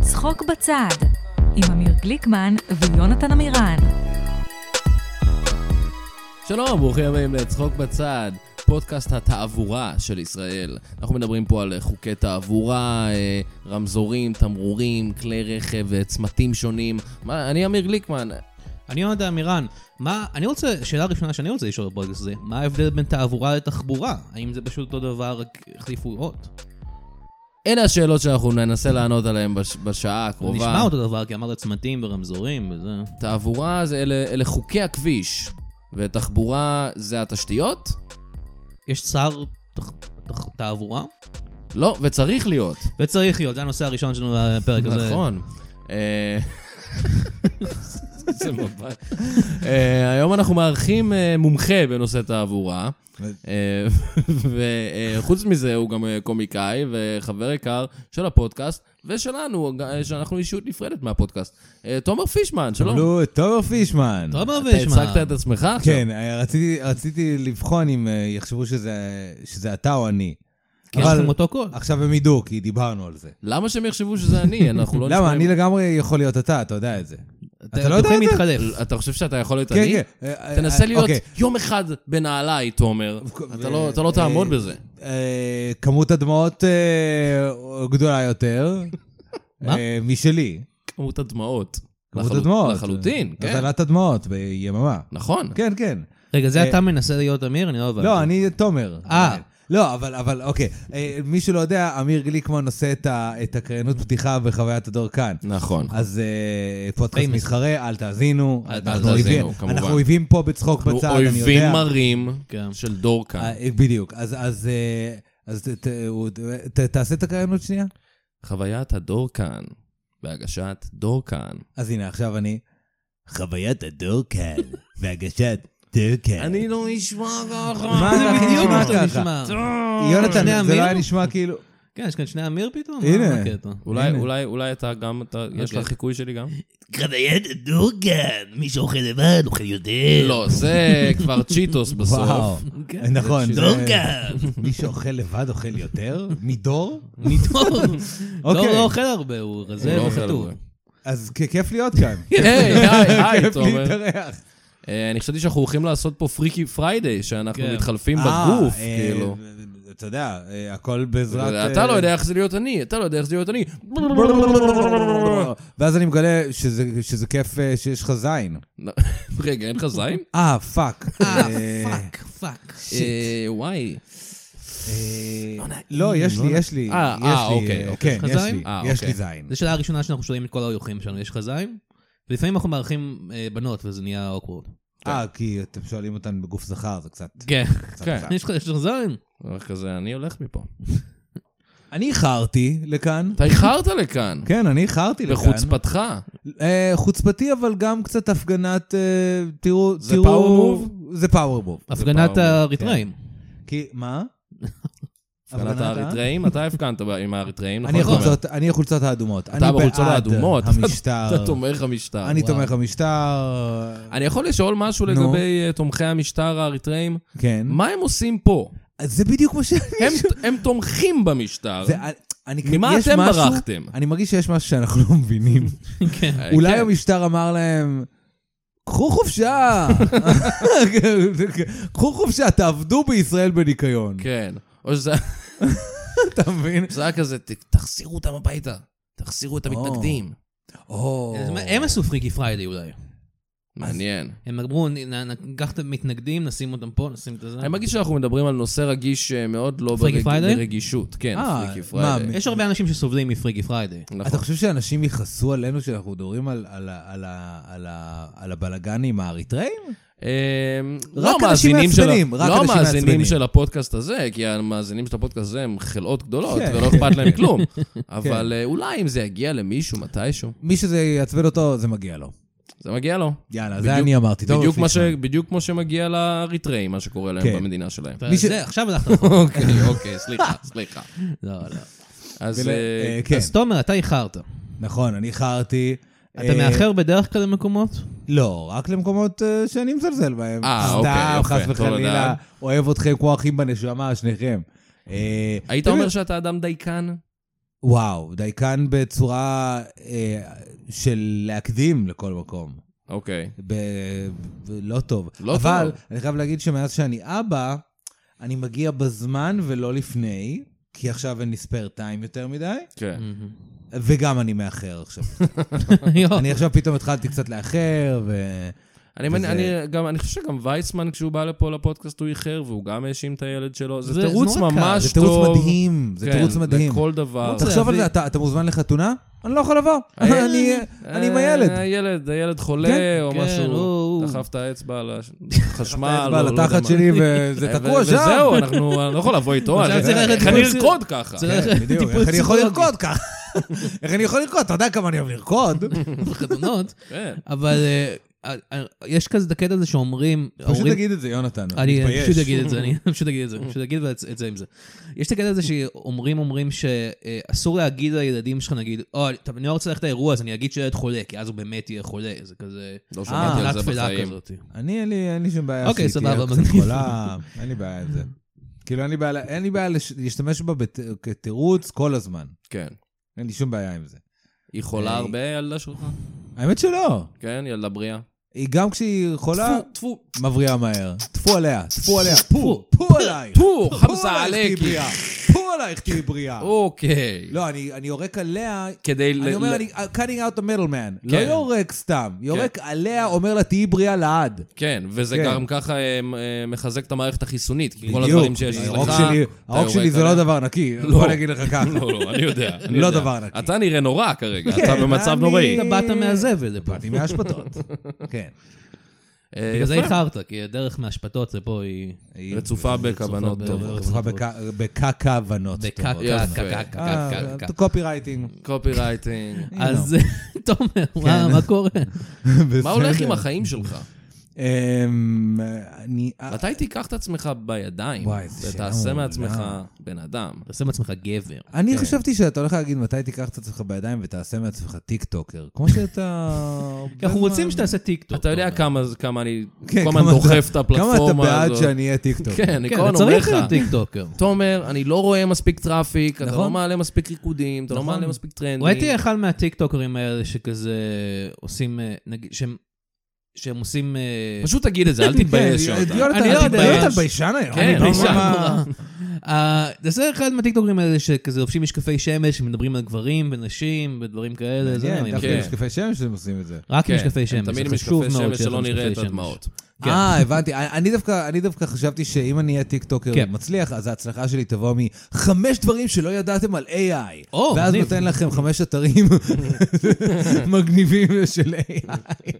צחוק בצד, עם אמיר גליקמן ויונתן עמירן. שלום, ברוכים הבאים לצחוק בצד, פודקאסט התעבורה של ישראל. אנחנו מדברים פה על אה, חוקי תעבורה, אה, רמזורים, תמרורים, כלי רכב, אה, צמתים שונים. מה, אני אמיר גליקמן. אני יונתן מירן, מה, אני רוצה, שאלה ראשונה שאני רוצה לשאול בפודקאסט זה, מה ההבדל בין תעבורה לתחבורה? האם זה פשוט אותו דבר, רק החליפו אות? אלה השאלות שאנחנו ננסה לענות עליהן בש, בשעה הקרובה. נשמע אותו דבר, כי אמרת צמתים ורמזורים וזה. תעבורה זה אלה, אלה חוקי הכביש, ותחבורה זה התשתיות? יש שר תח... תח... תעבורה? לא, וצריך להיות. וצריך להיות, זה הנושא הראשון שלנו בפרק הזה. נכון. אה, זה מבט. אה, היום אנחנו מארחים אה, מומחה בנושא תעבורה, אה, וחוץ מזה הוא גם אה, קומיקאי וחבר יקר של הפודקאסט ושלנו, אה, שאנחנו אישיות נפרדת מהפודקאסט. אה, תומר פישמן, שלום. נו, תומר פישמן. תומר אתה וישמע. הצגת את עצמך עכשיו? כן, אה, רציתי, רציתי לבחון אם אה, יחשבו שזה, שזה אתה או אני. כן, כי יש לכם אותו קול. עכשיו הם ידעו, כי דיברנו על זה. למה שהם יחשבו שזה אני? אנחנו לא למה? נשמעים- אני לגמרי יכול להיות אתה, אתה יודע את זה. אתה לא יודע אתם את זה? מתחלף. אתה חושב שאתה יכול להיות כן, אני? כן. אה, תנסה אה, להיות אוקיי. יום אחד בנעליי, תומר. אתה לא- אתה לא אה, תעמוד בזה. אה, כמות הדמעות אה, גדולה יותר. מה? אה, משלי. כמות הדמעות. כמות לחלו- הדמעות. לחלוטין, כן. הזלת הדמעות ביממה. נכון. כן, כן. רגע, זה אה, אתה מנסה להיות אמיר? אני לא הבנתי. לא, אני תומר. אה. לא, אבל, אבל, אוקיי. אה, מי שלא יודע, אמיר גליקמן עושה את, ה, את הקריינות פתיחה בחוויית הדור כאן. נכון. אז אה, פודקאסט Famous. מתחרה, אל תאזינו. אל אנחנו תאזינו, אויבים- כמובן. אנחנו אויבים פה בצחוק בצד, אני יודע. אנחנו אויבים מרים כן. של דור כאן. אה, בדיוק. אז, אז, אה, אז ת, ת, הוא- ת, תעשה את הקריינות שנייה. חוויית הדור כאן, בהגשת דור כאן. אז הנה, עכשיו אני... חוויית הדור כאן, והגשת דור כאן. אני לא נשמע ככה. מה זה אנחנו בדיוק מה נשמע שאתה ככה? נשמע. שני יונתן, זה אמיר? לא היה נשמע כאילו... כן, יש כאן שני אמיר פתאום? הנה. מה הקטע? אולי, הנה. אולי, אולי אתה גם, אתה, יש אוקיי. לך חיקוי שלי גם? חוויית הדורגן, מי שאוכל לבד אוכל יותר. לא, זה כבר צ'יטוס וואו, בסוף. נכון. זה- דורגן. מי שאוכל לבד אוכל יותר? מדור? מדור. דור אוקיי. לא אוכל הרבה, הוא הוא רזה לא אוכל וחתוך. הרבה. אז כ- כיף להיות כאן. היי, היי, היי, כיף תומר. להתארח. אה, אני חשבתי שאנחנו הולכים לעשות פה פריקי פריידיי, שאנחנו כן. מתחלפים אה, בגוף, אה, כאילו. אתה יודע, אה, הכל בעזרת... אתה אה, לא יודע איך זה להיות אני, אתה לא יודע איך זה להיות אני. ואז אני מגלה שזה- שזה כיף אה, שיש לך זין. רגע, אין לך זין? אה, פאק. אה, אה, פאק, פאק. אה, וואי. אה, לא, יש לי, יש לי. אה, יש אה, לי, אוקיי, אוקיי. כן, יש לך יש זין? לי, אה, יש אוקיי. לי זין. זו שאלה הראשונה שאנחנו שואלים את כל האורחים שלנו, יש לך זין? ולפעמים אנחנו מארחים אה, בנות, וזה נהיה אוקוורד. אה, כי אתם שואלים אותנו בגוף זכר, זה קצת... כן. קצת כן. זין. יש לך יש לך זין? כזה, אני הולך מפה. אני איחרתי לכאן. אתה איחרת לכאן, כן, אני איחרתי לכאן. בחוצפתך. אה, חוצפתי, אבל גם קצת הפגנת, אה, תראו, זה תראו... power move? זה פאוור מוב. הפגנת כן. פעם, האריתראים. כי, מה? הפגנת האריתראים, אתה הפגנת ב- עם האריתראים, נכון? אני החולצות, אני החולצות האדומות. אתה בחולצות האדומות. אני בעד המשטר. אתה תומך המשטר. אני וואו. תומך במשטר. אני יכול לשאול משהו נו. לגבי אה, תומכי המשטר האריתראים? כן. מה הם עושים פה? אז זה בדיוק מה שאני... הם- הם תומכים במשטר. זה- אני- ממה יש אתם משהו- ברחתם? אני מרגיש שיש משהו שאנחנו לא מבינים. אה, אולי כן. המשטר אמר להם, קחו חופשה. קחו חופשה, תעבדו בישראל בניקיון. כן. או שזה אתה מבין? זה היה כזה, "ת- תחזירו אותם הביתה. תחזירו את או. המתנגדים. או. אז מה- הם עשו פריקי פריידי אולי. מעניין. אה. הם אמרו, "נ- נ- ניקח את המתנגדים, נשים אותם פה, נשים את זה. אני מרגיש שאנחנו מדברים על נושא רגיש אה, מאוד לא פריקי ברג- פריידיי? ברגישות. כן, אה, פריקי מה, פריידי. מ- יש הרבה אנשים שסובלים מפריקי פריידי. נכון. אתה חושב שאנשים יכעסו עלינו שאנחנו מדברים על- על ה- על ה- על ה- על הבלגנים האריתראים? אמ, רק לא אנשים המאזינים של ה- מעצבנים, רק לא אנשים המאזינים מעצבנים. של הפודקאסט הזה, כי המאזינים של הפודקאסט הזה הם חלאות גדולות, כן. ולא אכפת להם כלום. אבל אה, אולי אם זה יגיע למישהו מתישהו, מי שזה יעצבן אותו, זה מגיע לו. זה מגיע לו. יאללה, בדיוק- זה אני אמרתי. תומר בדיוק מה ש- פישמן. בדיוק כמו שמגיע לאריתראים, מה שקורה להם כן. במדינה שלהם. אתה- מי ש- זה, עכשיו הלכת רחוק. אוקיי, אוקיי, סליחה, סליחה. לא, לא. אז ול- אה, אה, כן, אז תומר, אתה איחרת. נכון, אני איחרתי. אתה אה, מאחר בדרך כלל למקומות? לא, רק למקומות אה, שאני מזלזל בהם. אה, אוקיי, יפה, סתם, טוב חס וחלילה, לדעת. אוהב אתכם כמו אחים בנשמה, שניכם. אה, היית תמיד- אומר שאתה אדם דייקן? וואו, דייקן בצורה אה, של להקדים לכל מקום. אוקיי. ב... ב... לא טוב. לא אבל טוב. אני חייב להגיד שמאז שאני אבא, אני מגיע בזמן ולא לפני, כי עכשיו אין לי ספייר טיים יותר מדי, כן. וגם אני מאחר עכשיו. יואו. אני עכשיו פתאום התחלתי קצת לאחר, ו... אני, וזה- אני, אני, גם, אני חושב שגם וייסמן, כשהוא בא לפה לפודקאסט, הוא איחר, והוא גם האשים את הילד שלו. זה, זה- זה תירוץ נורא קל, ממש זה טוב. תירוץ מדהים, זה כן, תירוץ מדהים. לכל דבר. זה תחשוב על להביא- זה, אתה אתה מוזמן לחתונה? אני לא יכול לבוא, הילד- אני אני עם הילד. אה, הילד, הילד חולה כן, או כן, משהו, הוא- דחף את האצבע על הש- אתה חשמל, בא או לא יודע לתחת מה. אה, שלי וזה ו- תקוע שם. וזהו, אנחנו, אני לא יכול לבוא איתו, עכשיו אני- צריך ללכת איך אני טיפול ארקוד ככה? צריך כן, בדיוק, טיפול איך אני יכול פסיכולוגי. לרקוד ככה? איך אני יכול לרקוד? אתה יודע כמה אני אוהב לרקוד. בחתונות, כן. אבל אה, אה, אה, יש כזה את הקטע הזה שאומרים, פשוט ההורים- תגיד את זה, יונתן. אני אני מתבייש. פשוט אגיד את זה, אני פשוט אגיד את זה, פשוט אגיד ואת זה עם זה. יש את הקטע הזה שאומרים, אומרים שאסור להגיד לילדים שלך, נגיד, או, אתה- אני לא רוצה ללכת לאירוע, אז אני אגיד שילד חולה, כי אז הוא באמת יהיה חולה, זה כזה... לא שמעתי על מילת זה תפילה בחיים. כזאת. אני, אין לי, אין לי שום בעיה אוקיי, שהיא סבבה, תהיה מגניב. קצת חולה, אין לי בעיה עם זה. כאילו, אין לי בעיה, אין לי בעיה לש- להשתמש בה בת- כתירוץ כל הזמן. כן. אין לי שום בעיה עם זה. היא חולה אה, הרבה, הילדה שלך? האמת שלא. כן, ילדה בריאה. היא גם כשהיא חולה, טפו, טפו, מבריאה מהר. טפו עליה, טפו עליה. פו, פו עלייך. טפו, פו חמסה עלייך, תהיי עלקי. בריאה. פו עלייך, תהיי בריאה. אוקיי. לא, אני אני יורק עליה, כדי כן, ל... אני אומר, ל- אני uh, cutting out the middle man. לא כן. יורק סתם, יורק עליה, אומר לה, תהיי בריאה לעד. כן, וזה כן. גם ככה אה, אה, מחזק את המערכת החיסונית, כי כל בדיוק. הדברים שיש לך, אה, הרוק שלי- אתה הרוק שלי יורק זה לא עליה. דבר נקי, לא. בוא אני אגיד לך ככה. לא, לא, אני יודע. אני לא יודע. דבר נקי. אתה נראה נורא כרגע, כן, אתה במצב אני- נוראי. אתה באת מהזבל לפה. באתי מהשפטות. כן. אה, בגלל זה יפה. איחרת, כי הדרך מהשפטות זה פה היא... רצופה בכוונות רצופה טובות. רצופה בקקוונות. בקקה, יפה. אה, קקה, קקה, קקה, קקה. קופי רייטינג. קופי רייטינג. אז תומר, כן. מה- מה קורה? מה הולך עם החיים שלך? אמ, אני... אה, מתי תיקח את עצמך בידיים? וואי, איזה שאלה ותעשה מעולה. מעצמך בן אדם. תעשה מעצמך גבר. אני חשבתי שאתה הולך להגיד מתי תיקח את עצמך בידיים ותעשה מעצמך טיק טוקר. כמו שאתה... כי אנחנו רוצים שתעשה טיקטוק. אה, אתה יודע תומר. כמה זה- כמה אני כן, כל הזמן כמה אתה- דוחף את הפלטפורמה הזאת. כמה אתה בעד שאני אהיה טיק טוקר. כן, אני כן, כל הזמן אתה אומר צריך לך. להיות טיקטוקר. תומר, אני לא רואה מספיק טראפיק, אתה לא נכון. מעלה מספיק ריקודים, אתה לא נכון. מעלה מספיק טרנדים. ראיתי אחד מהטיקטוקרים האלה שכזה עושים, אה, נגיד, שהם- שהם עושים... אה, פשוט תגיד את זה, אל תתבייש. יונתן. יונתן, אני לא אתה יודע. יונתן ביישן היום. כן, אני לא ביישן. מבין מה- אה, זה אחד מהטיקטוקרים האלה שכזה לובשים משקפי שמש, שמדברים על גברים ונשים ודברים כאלה. זה אני מעניין, דווקא כן. עם משקפי שמש הם עושים את זה. רק כן, משקפי הם שמש, תמיד זה עם חשוב משקפי מאוד שמש שיש שלא משקפי נראה את שמש. הדמעות. כן. אה, הבנתי. אני- אני דווקא, אני דווקא חשבתי שאם אני אהיה טיקטוקר כן. מצליח, אז ההצלחה שלי תבוא מחמש דברים שלא ידעתם על AI. או, ואז מגניב. נותן לכם חמש אתרים מגניבים של AI.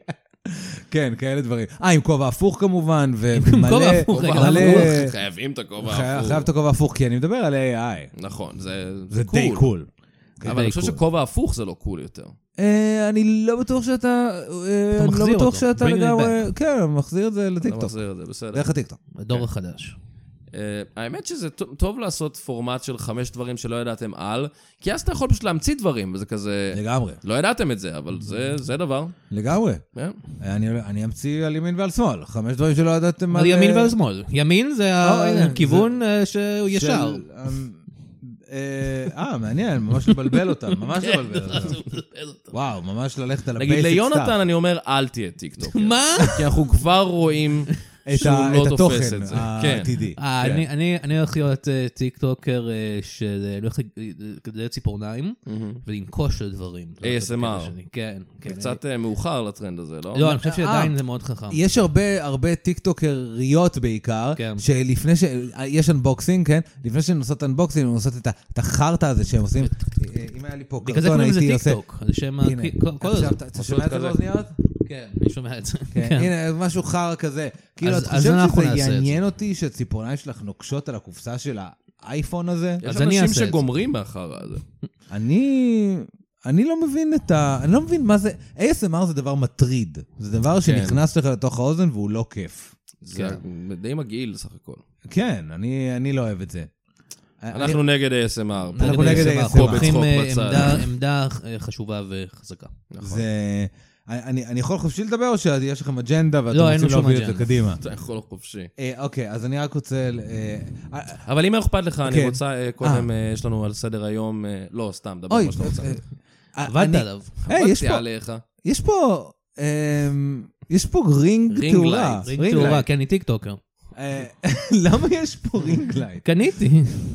כן, כאלה דברים. אה, עם כובע הפוך כמובן, ומלא... כובע הפוך, רגע, למה מלא... הפוך? חייבים את הכובע חי- ההפוך. חייב את הכובע הפוך, כי אני מדבר על AI. נכון, זה זה די cool. קול. אבל אני חושב שכובע הפוך זה לא קול יותר. אה, אני לא בטוח שאתה... אה, אתה אני מחזיר לא בטוח אותו. שאתה Bring it לגמרי... כן, מחזיר את זה אני לא לטיקטוק. מחזיר את זה, בסדר. דרך הטיקטוק. כן. הדור החדש. אה, האמת שזה טוב- טוב לעשות פורמט של חמש דברים שלא ידעתם על, כי אז אתה יכול פשוט להמציא דברים, וזה כזה... כן. לגמרי. לא ידעתם את זה, אבל זה- זה דבר. לגמרי. כן. אני אני אמציא על ימין ועל שמאל. חמש דברים שלא ידעתם על ימין אה, ועל שמאל. ימין זה אה, הנה, הכיוון אה, שהוא של- אמ, ישר. אה, אה, מעניין, ממש לבלבל אותם, ממש כן, לבלבל לא אותם. וואו, ממש ללכת על נגיד הבייסיק ליונתן אני אומר, אל תהיה טיקטוק. מה? כי אנחנו כבר רואים את שהוא ה- לא את תופס התוכן את זה. כן. העתידי. אה, אני- אני אני הולך להיות אה, טיקטוקר אה, של אה, הולך לגדל ציפורניים כן. ולנקוש על דברים. זה לא ASMR. הקטע שלי. כן, כן. קצת אה, מאוחר לטרנד הזה, לא? לא, אני חושב אה, שעדיין זה מאוד חכם. יש הרבה, הרבה טיקטוקריות בעיקר, כן. שלפני ש... יש אנבוקסינג, כן? לפני שהן עושות אנבוקסינג, הן עושות את ה- את החרטא הזה שהן עושים. אה, אם היה לי פה בגלל זה קרטון, קוראים לזה הייתי עושה... טיקטוק. זה שם... הנה, הכי- כל- כל עכשיו הזמן. אתה אתה שומע את זה כזה. באוזניות? כן, אני שומע את זה. כן, כן. הנה, משהו חרא כזה. כאילו, אז- את אז חושבת אנחנו שזה נעשה את יעניין אותי שהציפורניים שלך נוקשות על הקופסה של האייפון הזה? יש אז אני אעשה אנשים את זה. שגומרים מאחר הזה. אני... אני לא מבין את ה... אני לא מבין מה זה... ASMR זה דבר מטריד. זה דבר שנכנס לך לתוך האוזן והוא לא כיף. זה כן. די מגעיל סך הכל. כן, אני, אני לא אוהב את זה. אנחנו נגד ASMR. אנחנו פה. נגד ASMR. ASMR. לוקחים בצחוק אה, בצד. נכון. עמדה- עמדה אה, חשובה וחזקה. זה... אני אני יכול חופשי לדבר, או שיש לכם אג'נדה ואתם לא, אין רוצים לנו שום להוביל את זה אג'נדה. קדימה? אתה יכול חופשי. אה, אוקיי, אז אני רק רוצה... ל- אה, אה, אבל אם אכפת לך, אני כן. רוצה, אה, קודם, אה, יש לנו על סדר היום, אה, לא, סתם, דבר אוי, מה שאתה רוצה. אה, אה, עבדת אני- עליו. היי, יש עבדתי פה- עליך. יש פה... אמ, יש פה רינג רינג תאורה. לייט, רינג תאורה, כן, אני טיקטוקר. אה, למה יש פה רינג לייט? קניתי,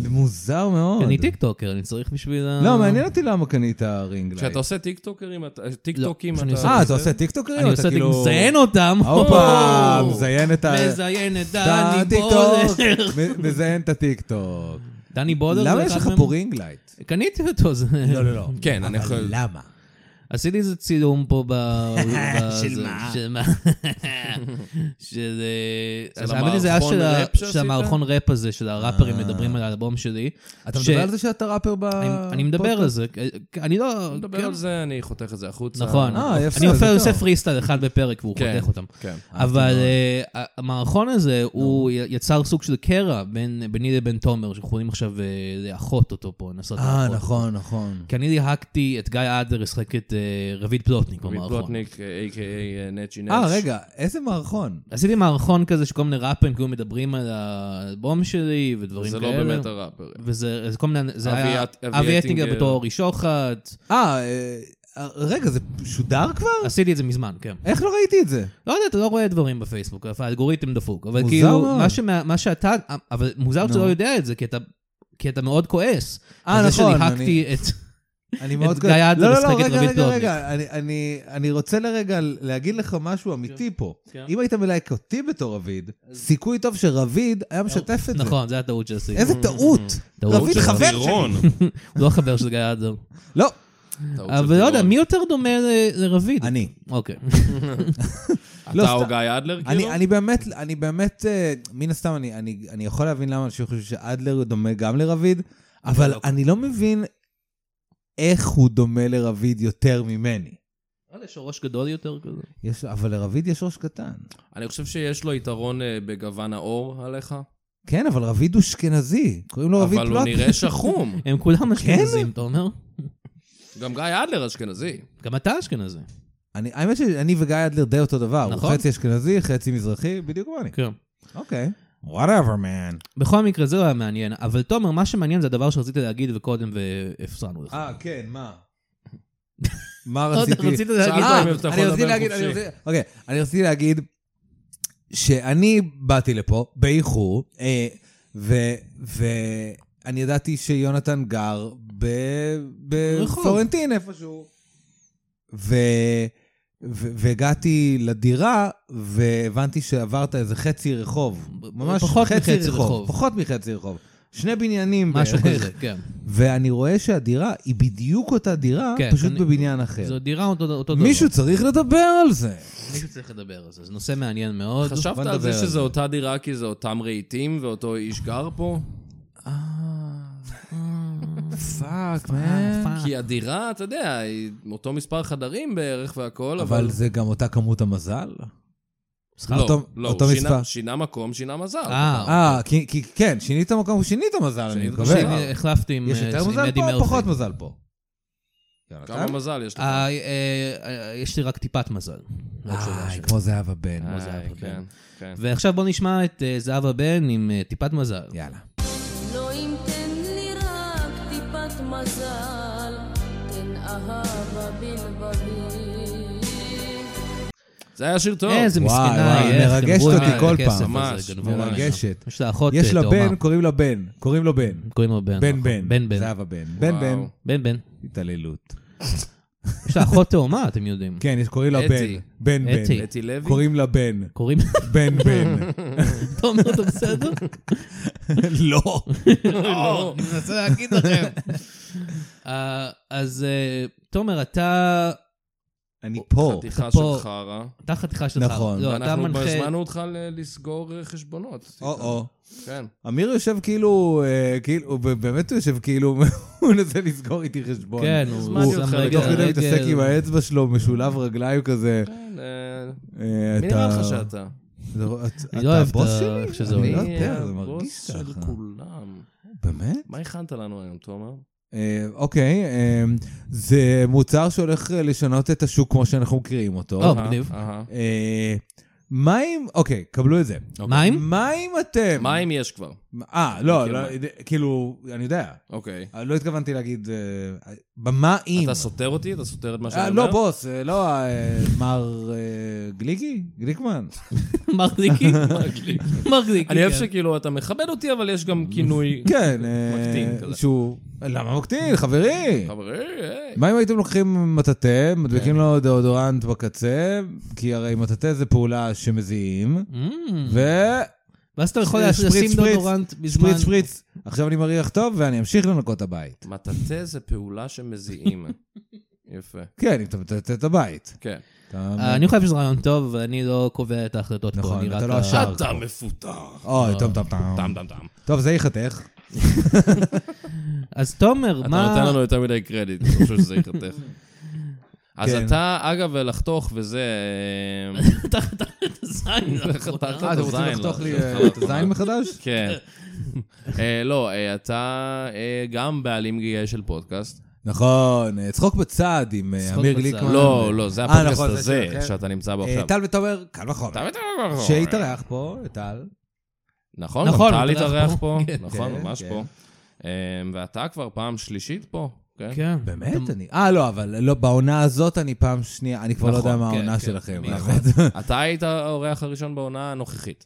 מוזר מאוד. אני טיקטוקר, אני צריך בשביל ה... לא, מעניין אותי למה קנית רינג לייט. כשאתה עושה טיקטוקרים, אתה- אה, טיקטוקים, כשאני אתה... עושה אה, אתה אה. לא, עושה טיקטוקרים? אני אתה עושה, כאילו- מזיין אותם. הופה, או! מזיין את ה... מזיין את את דני הטיקטוק. בודר. מ- מזיין את הטיקטוק. דני בודר למה זה יש אחד לך מהם. פה רינג לייט? קניתי אותו, זה... לא, לא. כן, אני יכול... למה? עשיתי איזה צילום פה ב... ב- של זה- מה? של מה? של... אה, של האמת היא, זה היה המערכון של ה- ראפ שעשית? אה. של המערכון ראפ הזה, של הראפרים מדברים על האלבום שלי. אתה ש- מדבר על זה שאתה ראפר ב... אני- אני מדבר על זה, אני לא... כן? נדבר על זה, אני חותך את זה החוצה. נכון. אה, יפה, אני זה עושה- טוב. עושה פריסטייל אחד בפרק והוא כן, חותך אותם. כן. אבל אה, המערכון הזה, הוא י- יצר סוג של קרע בין ביני לבין תומר, שאנחנו יכולים עכשיו אה, לאחות אותו פה, לנסות אה, לאחות. נכון, נכון. כי אני ליהקתי את גיא אדלר, ישחק את אה, רביד פלוטניק רביד במערכון. פלוטניק, a.k.a. נצ'י נץ'. נכון. אה, רגע, איזה מערכון? עשיתי מערכון כזה שכל מיני ראפרים כאילו מדברים על האלבום שלי ודברים זה כאלה. לא אוקיי. באמת הראפר. וזה אז כל מיני, זה אבי היה אט- אבי אבי אטינגר. אטינגר בתור אורי שוחט, אה, אה, רגע, זה שודר כבר? עשיתי את זה מזמן, כן. איך לא ראיתי את זה? לא יודע, אתה לא רואה דברים בפייסבוק, האלגוריתם דפוק. אבל מוזר כאילו, מאוד. מה, שמה, מה שאתה, אבל מוזר שאתה נו. לא יודע את זה, כי אתה, כי אתה מאוד כועס. אה, על נכון, זה שליהקתי את... אני מאוד... גיא כ- אדלר לא, לא, משחק לא, את רגע, רביד רגע, פלוטניק. רגע, אני- אני- אני רוצה לרגע להגיד לך משהו אמיתי פה. כן. אם היית מלהק אותי בתור רביד, סיכוי טוב שרביד היה משתף את זה. נכון, זה הטעות שעשיתי. איזה טעות. טעות רביד של חבר שלי. הוא לא חבר של גיא אדלר. לא, טעות של אבל לא יודע, טירון. מי יותר דומה ל- לרביד? אני. אוקיי. לא, אתה או סתם. גיא אדלר, כאילו? אני, אני באמת, אני באמת, אה, מן הסתם, אני, אני, אני יכול להבין למה אנשים חושבים שאדלר דומה גם לרביד, אבל אני לא מבין איך הוא דומה לרביד יותר ממני. לא יודע, יש לו ראש גדול יותר כזה. יש, אבל לרביד יש ראש קטן. אני חושב שיש לו יתרון אה, בגוון העור עליך, כן, אבל רביד הוא אשכנזי, קוראים לו רביד אבל הוא פלוט. נראה שחום. הם כן? כולם אשכנזים, אתה אומר? גם גיא אדלר אשכנזי. גם אתה אשכנזי. אני, האמת שאני וגיא אדלר די אותו דבר, הוא נכון. חצי אשכנזי, חצי מזרחי, בדיוק כמוני. כן. אוקיי. whatever man. בכל מקרה, זה לא היה מעניין. אבל תומר, מה שמעניין זה הדבר שרציתי להגיד וקודם והפסענו לך. אה, כן, מה? מה עוד לא רציתי? אה, רצית להגיד- שאלת אם אתה אני יכול רציתי לדבר להגיד, אני חופשי. רציתי, אוקיי, אני רציתי להגיד שאני באתי לפה באיחור, אה, ו- ואני ידעתי שיונתן גר ב- רחוב. בפלורנטין איפשהו. ו... ו- והגעתי לדירה, והבנתי שעברת איזה חצי רחוב. ממש פחות חצי מחצי רחוב. רחוב. פחות מחצי רחוב. שני בניינים משהו בערך. כזה, כן. ואני רואה שהדירה היא בדיוק אותה דירה, כן, פשוט אני- לא- בבניין אחר. זו דירה אותו אותו דבר. מישהו צריך לדבר על זה. מישהו צריך לדבר על זה, זה נושא מעניין מאוד. חשבת בוא על זה נדבר על שזה זה. אותה דירה כי זה אותם רהיטים ואותו איש גר פה? פאק, אה, פאק. כי הדירה, אתה יודע, היא אותו מספר חדרים בערך והכול, לא, אבל... אבל זה גם אותה כמות המזל? לא, אותו- לא, אותו הוא שינה- מספר. שינה מקום, שינה מזל. אה, אה, כי כי- כן, שינית מקום, הוא שינית מזל, אני שינית מקווה. מזל. שאני החלפתי עם יש אה, יותר עם מזל אדי פה או מרפי. פחות מזל פה? יונתן? כמה מזל יש לך? אה, אה, אה, יש לי רק טיפת מזל. לא תשובה אה, איי, שלי. כמו זהבה בן. איי, כמו זהבה בן. כן, כן. ועכשיו בוא נשמע את אה, זהבה בן עם אה, טיפת מזל. יאללה. לא אם תן לי רק טיפת מזל, תן אהבה בלבבי. זה היה שיר טוב. איזה וואי, מסכנה, וואי, איך מרגשת גנבו אותי ממנה את כל הכסף פעם. הזה, ממש, גנבו ממנה. מרגשת. יש לה אחות יש לה אה, בן, תאומה. קוראים לו בן. קוראים לו בן. קוראים לו בן. בן נכון. בן. בן בן. זהבה בן. בן וואו. בן בן. בן. התעללות. יש לה אחות תאומה, אתם יודעים. כן, יש- קוראים לה אתי. בן. בן אתי. בן. אתי לוי? קוראים לה בן. קוראים... בן בן. אתה אומר אותו בסדר? לא. לא. אני מנסה להגיד לכם. אז אה, תומר, אתה... אני פה. חתיכה אתה של פה. חרא. אתה חתיכה שלך. נכון. לא, אתה ואנחנו כבר מנחה... הזמנו אותך ל- לסגור אה, חשבונות. או-או. כן. אמיר יושב כאילו, אה, כאילו, הוא ב- באמת הוא יושב כאילו, הוא מנסה לסגור איתי חשבון. כן, הזמנתי הוא אותך שם רגע, רגע תוך כדי מתעסק רגל. עם האצבע שלו, משולב רגליים כזה. כן, אה, אה, מי אתה- נראה לך שאתה? זה- את- אני אתה לא אוהב את הבוס ה- שלי? איך שזה אני עולה. לא יודע, זה הבוס מרגיש של ככה. כולם. באמת? מה הכנת לנו היום, תומר? אה, אוקיי, אה, זה מוצר שהולך אה, לשנות את השוק כמו שאנחנו מכירים אותו. או, מגניב. אהה. אה, מה אם, אוקיי, קבלו את זה. מים? מה אם אתם... מים יש כבר. אה, לא, מכיר לא, כאילו, אני יודע. אוקיי. אה, לא התכוונתי להגיד... אה, במה אם... אתה סותר אותי? אתה סותר את מה שאני אה, אומר? לא, בוס, אה, לא, אה, מר אה, גליקי? גליקמן? מחזיקי? מחזיקי. אני אוהב כן. שכאילו אתה מכבד אותי, אבל יש גם כינוי... כן, אה, מקטין כזה. שהוא... למה מקטין, חברי? חברי, היי. מה אם הייתם לוקחים מטאטא, כן. מדביקים לו דאודורנט בקצה, כי הרי מטאטא זה פעולה שמזיעים, Mm. ו... ואז אתה יכול שפריץ, לשים אה, שפריץ, דודורנט בזמן... שפריץ, שפריץ. עכשיו אני מריח טוב ואני אמשיך לנקות את הבית. מטאטא זה פעולה שמזיעים. יפה. כן, אם אתה מטאטא את הבית. כן. אתה- אה, אני חושב שזה רעיון טוב, אבל אני לא קובע את ההחלטות פה. נכון, אני אתה רק לא ה- השאר. אתה מפותח. אוי, טוב, טוב, טוב. טם טם טם. טוב, זה ייחתך. אז תומר, אתה מה... נותן לנו יותר מדי קרדיט, אני חושב שזה ייחתך. אז כן. אתה, אגב, לחתוך וזה... אה, תחת הזין. חתכת את אה, אתם רוצים הזין לא, לחתוך לי לאחרונה. אה, את הזין כן. מחדש? כן. אה, לא, אה, אתה אה, גם בעלים גאה של פודקאסט. נכון, אה, צחוק בצד עם אה, צחוק אמיר בצד. גליקמן. לא, לא, זה אה, הפודקאסט נכון, זה הזה שלכם. שאתה נמצא בו אה, עכשיו. טל ותומר, קל וחומר. אתה בטח- שהתארח פה, טל. נכון, נכון, גם טל הוא התארח התארח פה. פה, כן, נכון, כן, ממש כן. פה. אה, ואתה כבר פעם שלישית פה, כן? כן. באמת? אני... אה, לא, אבל לא, בעונה הזאת אני פעם שנייה, אני כבר לא נכון, יודע מה כן, העונה כן, שלכם. נכון. האמת. אתה היית האורח הראשון בעונה הנוכחית,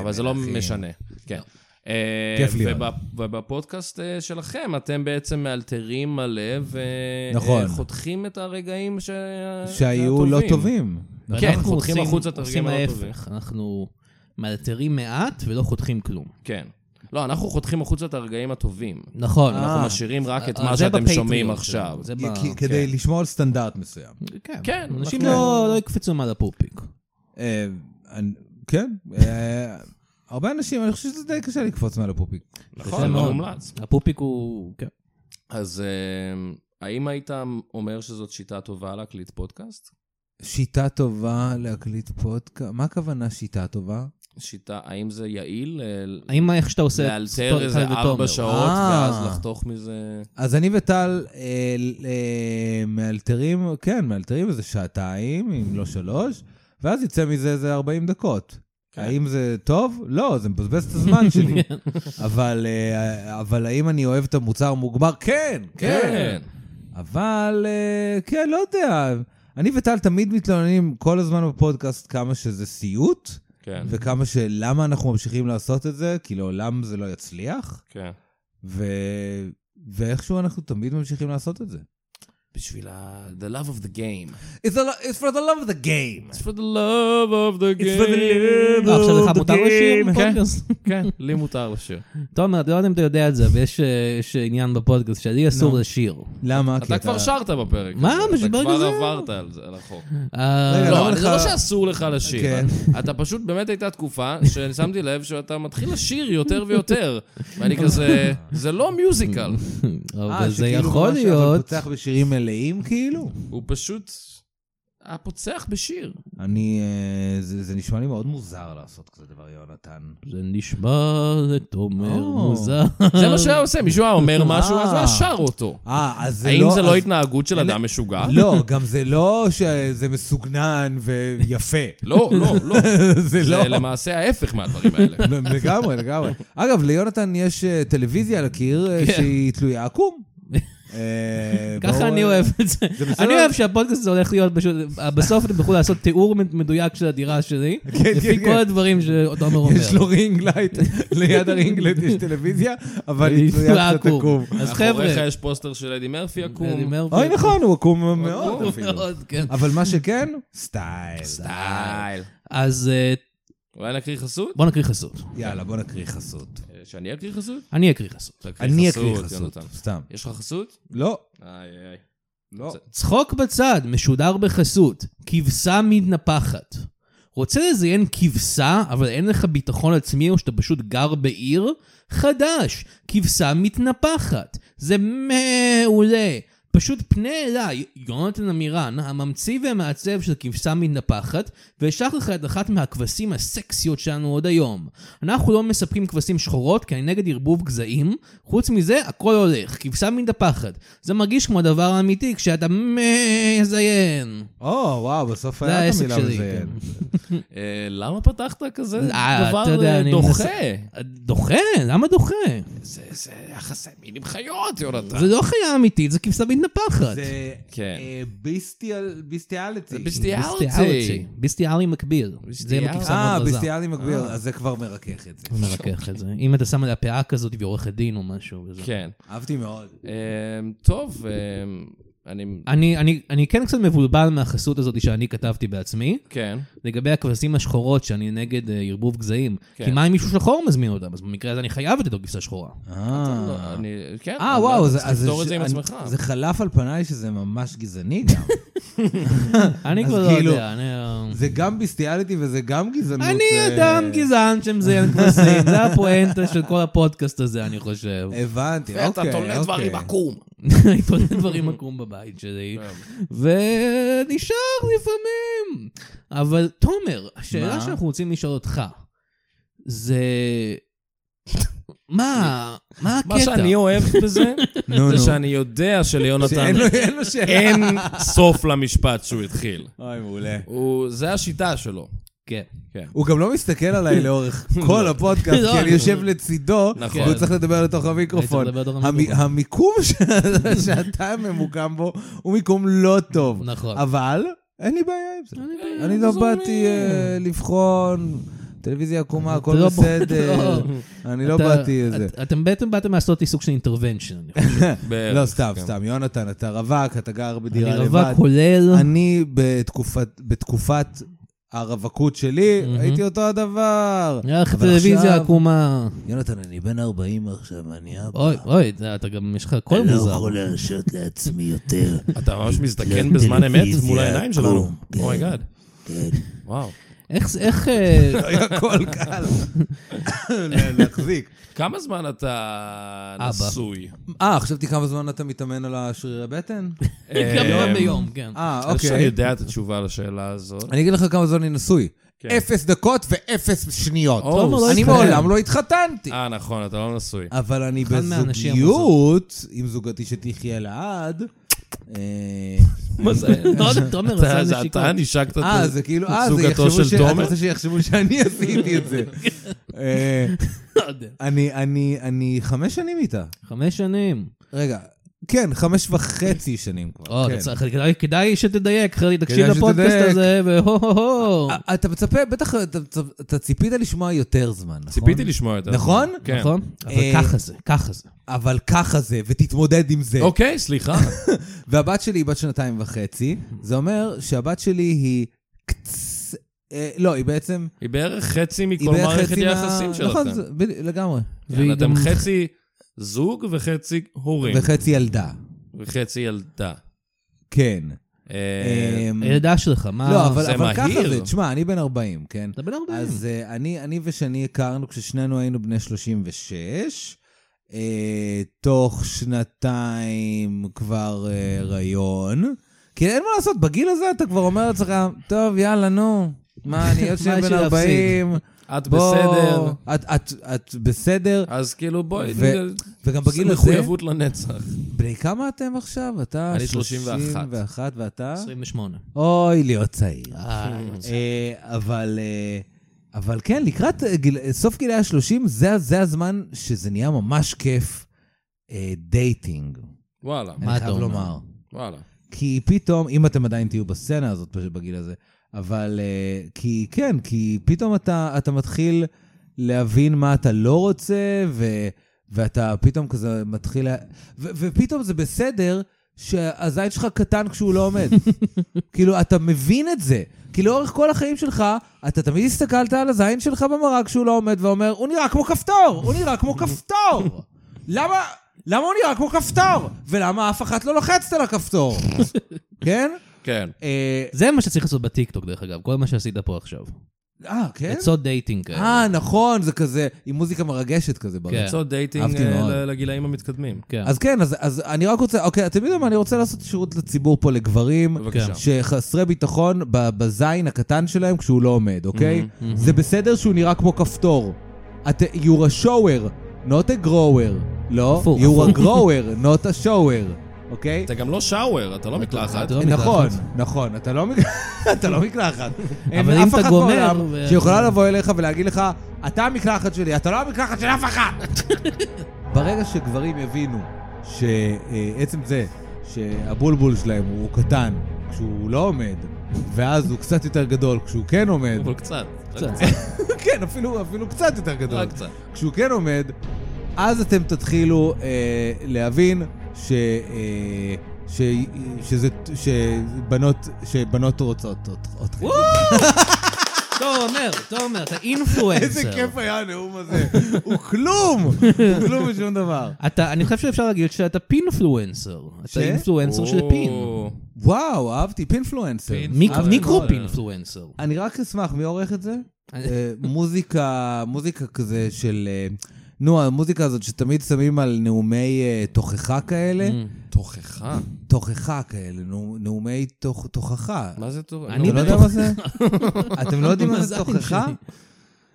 אבל זה לא מלכים. משנה. כן. אה, לא. כיף להיות. וב- ובפודקאסט אה, שלכם, אתם בעצם מאלתרים מלא נכון. וחותכים את הרגעים ש... שהיו לא טובים. נכון? כן, אנחנו חותכים עושים- החוצה את הרגעים הלא עושים טובים. ההפך, אנחנו מאלתרים מעט ולא חותכים כלום. כן. לא, אנחנו חותכים החוצה את הרגעים הטובים. נכון. אנחנו אה. משאירים רק את אה, מה זה שאתם בפטריון, שומעים זה- עכשיו. זה ב- כי- כדי כן. לשמור על סטנדרט מסוים. כן. כן, אנשים אנחנו- לא לא יקפצו מעל הפופיק. אה, אני- כן, אה, הרבה אנשים, אני חושב שזה די קשה לקפוץ מעל הפופיק. נכון, זה לא מאוד. מומלץ. הפופיק הוא... כן. אז אה, האם היית אומר שזאת שיטה טובה להקליט פודקאסט? שיטה טובה להקליט פודקאסט, מה הכוונה שיטה טובה? שיטה, האם זה יעיל אה, האם איך שאתה עושה... את לאלתר סטורי איזה טיים ארבע ותומר? לא, שעות אה. ואז לחתוך מזה? אז אני וטל אה, אה, מאלתרים, כן, מאלתרים איזה שעתיים, אם לא שלוש, ואז יצא מזה איזה 40 דקות. האם זה טוב? לא, זה מבזבז את הזמן שלי. אבל, אה, אבל האם אני אוהב את המוצר המוגמר? כן, כן. אבל אה, כן, לא יודע. אני וטל תמיד מתלוננים כל הזמן בפודקאסט כמה שזה סיוט, כן, וכמה שלמה אנחנו ממשיכים לעשות את זה, כי לעולם זה לא יצליח. כן. ו... ואיכשהו אנחנו תמיד ממשיכים לעשות את זה. בשביל ה... The love of the game. It's, a, it's for the love of the game. It's for the love of the game. אה, עכשיו לך מותר לשיר? בפודקאסט? כן, לי מותר לשיר. תומר, אתה לא יודע אם אתה יודע את זה, אבל יש, אה, יש עניין בפודקאסט שלי אסור לשיר. למה? כי אתה כבר שרת בפרק. מה? הזה, בשביל אתה זה? כבר עברת על זה, על החוק. אה, רגע, למה לא, זה לך- לא שאסור לך לשיר. כן. אתה פשוט, באמת הייתה תקופה ששמתי לב שאתה מתחיל לשיר יותר ויותר. ואני כזה, זה לא מיוזיקל. אבל זה אה, שכאילו יכול ממש אבל להיות. פותח בשירים מלאים כאילו? הוא פשוט הפוצח בשיר. אני... אה, זה, זה נשמע לי מאוד מוזר לעשות כזה דבר, יונתן. זה נשמע לתומר או. מוזר. זה מה שהיה עושה, מישהו היה אומר משהו, אז הוא היה שר אותו. אה, אז אה. זה האם לא... זה לא אז- התנהגות של אדם משוגע? לא, גם זה לא שזה מסוגנן ויפה. לא, לא, לא. זה לא... זה למעשה ההפך מהדברים האלה. לגמרי, לגמרי. אגב, ליונתן יש אה, טלוויזיה על הקיר אה, שהיא תלויה עקום. אה, ככה בואו, אני אה, אוהב את זה. זה לא- בסדר. אני אוהב שהפודקאסט הזה הולך להיות פשוט, בסוף אתם תוכלו לעשות תיאור מדויק של הדירה שלי, לפי כן, כל כן. הדברים שתומר אומר. יש לו רינג לייט, ליד הרינג לייט יש טלוויזיה, אבל היא תלויה קצת עקום. אז מאחוריך חבר'ה, יש פוסטר של אדי מרפי אני עקום. אומר, אוי, נכון, הוא עקום עקום מאוד אפילו. מאוד, כן. אבל מה שכן, סטייל. סטייל. אז אה, אולי נקריא חסות? בוא נקריא חסות. יאללה, בוא נקריא חסות. אה, שאני אקריא חסות? אני אקריא חסות. תקריא אני אקריא חסות, יונתן. סתם. יש לך חסות? לא, איי איי. לא. זה- צחוק בצד, משודר בחסות. כבשה מתנפחת. רוצה לזיין כבשה, אבל אין לך ביטחון עצמי או שאתה פשוט גר בעיר? חדש, כבשה מתנפחת. זה מעולה. פשוט פנה אליי, יונתן עמירן, הממציא והמעצב של כבשה מתנפחת, ואשלח לך את אחת מהכבשים הסקסיות שלנו עוד היום. אנחנו לא מספקים כבשים שחורות, כי אני נגד ערבוב גזעים, חוץ מזה, הכל הולך, כבשה מתנפחת. זה מרגיש כמו הדבר האמיתי כשאתה מזיין. או, וואו, בסוף זה היה את העסק המילה שלי, מזיין. כן. אה, למה פתחת כזה אה, דבר אתה יודע, אה, אני דוחה? מנסה- כן. דוחה? למה דוחה? זה זה יחסי מין עם חיות, יונתן. זה לא חיה אמיתית, זה כבשה מתנפחת. זה כן. אה, ביסטיאל- ביסטיאליטי. זה ביסטיאליטי. ביסטיאליטי. ביסטיאלי מקביל. זה עם ביסטיאלי. הכבשה אה, מאוד רזה. ביסטיאלי מגביר, אז זה כבר מרכך את זה. הוא מרכך את זה. אם אתה שם עליה פאה כזאת והיא עורכת דין או משהו. וזה. כן. אהבתי מאוד. אה, טוב, אה, אני... אני, אני, אני כן קצת מבולבל מהחסות הזאת שאני כתבתי בעצמי, כן. לגבי הכבשים השחורות שאני נגד אה, ערבוב גזעים. כן. כי מה אם מישהו שחור מזמין אותם? אז במקרה הזה אני חייב לתת לו כבשה שחורה. לא, אה, אני... כן. אה, אני לא וואו, יודע, זה- צריך אז לפתור את זה עם אני- עצמך. זה חלף על פניי שזה ממש גזעני גם. אני אז כבר לא כאילו- יודע, אני... אה, זה גם ביסטיאליטי וזה גם גזענות. אני אה, אדם גזען שמזיין כבשים, זה הפואנטה של כל הפודקאסט הזה, אני חושב. הבנתי, אוקיי, כן, אתה אוקיי. תולה דברים עקום. אני קונה דברים עקום בבית שלי, ונשאר לפעמים. אבל תומר, השאלה מה? שאנחנו רוצים לשאול אותך, זה... מה, מה הקטע? מה שאני אוהב בזה, נו, זה נו. שאני יודע שליונתן שאין לו- אין לו שאלה. אין סוף למשפט שהוא התחיל. אוי, מעולה. הוא- זה השיטה שלו. כן. הוא גם לא מסתכל עליי לאורך כל הפודקאסט, לא, כי אני אני- יושב לצידו, נכון. והוא צריך לדבר לתוך המיקרופון. אני צריך לדבר לתוך המי- המיקרופון. המיקום ש- שאתה ממוקם בו הוא מיקום לא טוב. נכון. אבל אין לי בעיה עם זה. בעיה, אני לא זורמים. באתי אה, לבחון, טלוויזיה עקומה, אתה הכל לא- בסדר. אני לא אתה- באתי איזה. את- אתם בעצם באתם לעשות עיסוק של אינטרוונשן, אני חושב. בערך, לא, סתם, כן. סתם. יונתן, אתה רווק, אתה גר אני בדירה לבד. רווק כולל... אני בתקופת- בתקופת הרווקות שלי, מהמם. הייתי אותו הדבר. נראה לך אבל אה, טלוויזיה עכשיו- עקומה. יונתן, אני בן 40 עכשיו, אני אבא. אוי, אוי, אתה- אתה גם, יש לך קול אני לא מוזר. יכול להרשות לעצמי יותר. אתה ממש כן, מזדקן בזמן אמת לטלוויזיה, מול העיניים שלנו. כלום. כן. אומייגאד. כן. וואו. איך, איך... אה, היה קול קל לה- להחזיק. כמה זמן אתה אבא. נשוי? אה, חשבתי כמה זמן אתה מתאמן על השרירי בטן? אה, גם פעם ביום, כן. אה, אני חושב שאני אוקיי. יודע את התשובה לשאלה הזאת. אני אגיד לך כמה זמן אני נשוי. כן. אפס דקות ואפס שניות. או, תומר לא אני התחתן. מעולם לא התחתנתי. אה, נכון, אתה לא נשוי. אבל אני אחד מהאנשים בזוגיות, עם זוגתי שתחיה לעד. אה, מה זה? לא, תומר עשה איזה שיקול. אתה נשקת את אה, זה כאילו, אה, זה זוגתו יחשבו ש... של אני תומר? רוצה שיחשבו שאני עשיתי את זה. אה, לא יודע. אני- אני אני חמש שנים איתה. חמש שנים. רגע, כן, חמש וחצי שנים כבר. או, אתה כן. צריך- כדאי- כדאי שתדייק, אחרי תקשיב כדאי לפודקאסט שתדייק. הזה, והו הו הו. א- אה, אתה מצפה, בטח אתה- אתה- אתה ציפית לשמוע יותר זמן, נכון? ציפיתי לשמוע את זה. נכון? כן. נכון? אה, אבל ככה זה, ככה זה. אבל ככה זה, ותתמודד עם זה. אוקיי, סליחה. והבת שלי היא בת שנתיים וחצי, זה אומר שהבת שלי היא קצ... אה, לא, היא בעצם... היא בערך חצי היא מכל בערך מערכת חצי מה- היחסים נכון, שלכם. זה- בדי- לגמרי. כן, והיא אתם גם- חצי זוג וחצי הורים. וחצי ילדה. וחצי ילדה. כן. אה, אמ, הילדה שלך, מה... לא, אבל זה אבל ככה מהיר. זה. תשמע, אני בן 40, כן? אה, אתה בן 40. אז אה, אני, אני ושני הכרנו כששנינו היינו בני 36. אה, תוך שנתיים כבר אה, הריון. כי אין מה לעשות, בגיל הזה אתה כבר אומר לעצמך, טוב, יאללה, נו, מה, אני עוד מה שנייה יש בן לי להפסיד? 40, את בוא... בסדר. את, את, את בסדר, אה, אז כאילו בואי, ו- וגם בגיל הזה, מחויבות לנצח. בני כמה אתם עכשיו? אתה אני 31. 31 ואתה? 28. אוי, להיות צעיר. אה, אה, אבל, אה, אבל כן, לקראת אה, גיל, אה, סוף גילי ה-30, זה, זה הזמן שזה נהיה ממש כיף אה, דייטינג. וואלה, אני אתה חייב אומר? לומר. וואלה. כי פתאום, אם אתם עדיין תהיו בסצנה הזאת פשוט בגיל הזה, אבל אה, כי כן, כי פתאום אתה, אתה מתחיל להבין מה אתה לא רוצה, ו, ואתה פתאום כזה מתחיל... לה- ו, ופתאום זה בסדר שהזין שלך קטן כשהוא לא עומד. כאילו, אתה מבין את זה. כי לאורך כל החיים שלך, אתה תמיד הסתכלת על הזין שלך במראה כשהוא לא עומד ואומר, הוא נראה כמו כפתור! הוא נראה כמו כפתור! למה... למה הוא נראה כמו כפתור? ולמה אף אחת לא לוחצת על הכפתור? כן? כן. אה, זה מה שצריך לעשות בטיקטוק, דרך אגב, כל מה שעשית פה עכשיו. אה, כן? עצות דייטינג כאלה. אה, נכון, זה כזה, עם מוזיקה מרגשת כן. כזה ברצון. לעשות דייטינג כן. אהבתי אה, מאוד. ל- לגילאים המתקדמים. כן. אז כן, אז, אז אני רק רוצה, אוקיי, אתם יודעים מה, אני רוצה לעשות שירות לציבור פה לגברים, בבקשה. שחסרי ביטחון ב- בזין הקטן שלהם כשהוא לא עומד, אוקיי? Mm-hmm, זה בסדר שהוא נראה כמו כפתור. את, you're a shower, not a grower. לא, הפוך, you're a הפוך. grower, not a shower, אוקיי? אתה גם לא שאוור, אה, אתה לא מקלחת. אתה לא מקלחת. נכון, נכון, אתה לא מק- אתה לא מקלחת. אין אבל אם אף אתה אחת גומר, בעולם ו- שיכולה לבוא אליך ולהגיד לך, אתה המקלחת שלי, אתה לא המקלחת של אף אחת. ברגע שגברים יבינו שעצם זה שהבולבול שלהם הוא קטן כשהוא לא עומד, ואז הוא קצת יותר גדול כשהוא כן עומד, אבל קצת. קצת. כן, אפילו אפילו קצת יותר גדול, רק קצת. כשהוא כן עומד, אז אתם תתחילו אה, להבין ש, אה, ש, שזה, שבנות, שבנות רוצות אות- אתכם. תומר, תומר, לא, אתה אינפלואנסר. איזה כיף היה הנאום הזה. הוא כלום! הוא כלום ושום דבר. אתה, אני חושב שאפשר להגיד שאתה פינפלואנסר. ש? אתה אינפלואנסר של פין. או, וואו, אהבתי, פינפלואנסר. פינפלואנסר. מיק- אהבתי מיקרו מאוד. פינפלואנסר. אני רק אשמח, מי עורך את זה? אני- אה, מוזיקה, מוזיקה כזה של... אה, נו, המוזיקה הזאת שתמיד שמים על נאומי אה, תוכחה Mm. כאלה. תוכחה? תוכחה כאלה, נו- נאומי תוכ- תוכחה. מה זה תוכחה? אני אני לא יודע מה זה? אתם לא יודעים מה זה מזל תוכחה? שלי.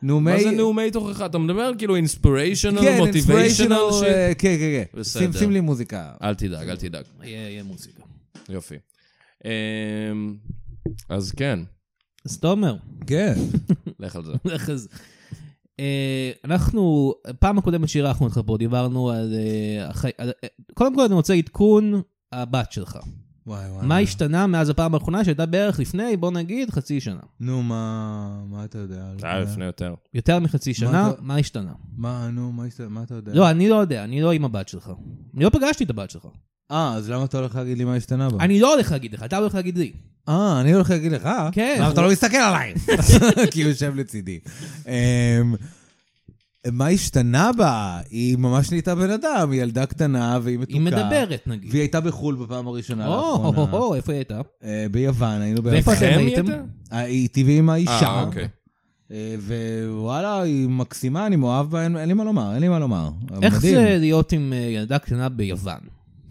נאומי... מה זה נאומי תוכחה? אתה מדבר על כאילו אינספיריישנל, כן, מוטיביישנל inspirational, שיט? אה, כן, כן, כן. בסדר. אה. שים- שים לי מוזיקה. אל תדאג, אל תדאג. יהיה יהיה מוזיקה. יופי. אמ, אז כן, אז תומר, כן. לך על זה. אז... אה, אנחנו, פעם הקודמת שאירחנו אותך פה, דיברנו על... אה, החי- על- אה, קודם כל אני רוצה עדכון הבת שלך. וואי וואי. מה השתנה מאז הפעם האחרונה שהייתה בערך לפני, בוא נגיד, חצי שנה. נו, מה... מה אתה יודע? זה היה אה, לפני יותר. יותר מחצי שנה, אתה- מה השתנה? מה, נו, מה השת- מה אתה יודע? לא, אני לא יודע, אני לא עם הבת שלך. אני לא פגשתי את הבת שלך. אה, אז למה אתה הולך להגיד לי מה השתנה בו? אני לא הולך להגיד לך, אתה הולך להגיד לי. אה, אני הולך להגיד לך? כן. למה אתה לא מסתכל עליי? כי הוא יושב לצידי. אמ, מה השתנה בה? היא ממש נהייתה בן אדם, היא ילדה קטנה והיא מתוקה. היא מדברת, נגיד. והיא הייתה בחו"ל בפעם הראשונה או, או, לאחרונה. או, איפה היא הייתה? אה, ביוון, היינו ואיפה ביוון. איתכם אתם היא הייתם? הייתה? אה, היא איתי ועם האישה. אה, אוקיי. אה, ווואלה, היא מקסימה, אני מאוהב בה, אין אין לי מה לומר, אין לי מה לומר. איך מדהים. זה להיות עם אה, ילדה קטנה ביוון?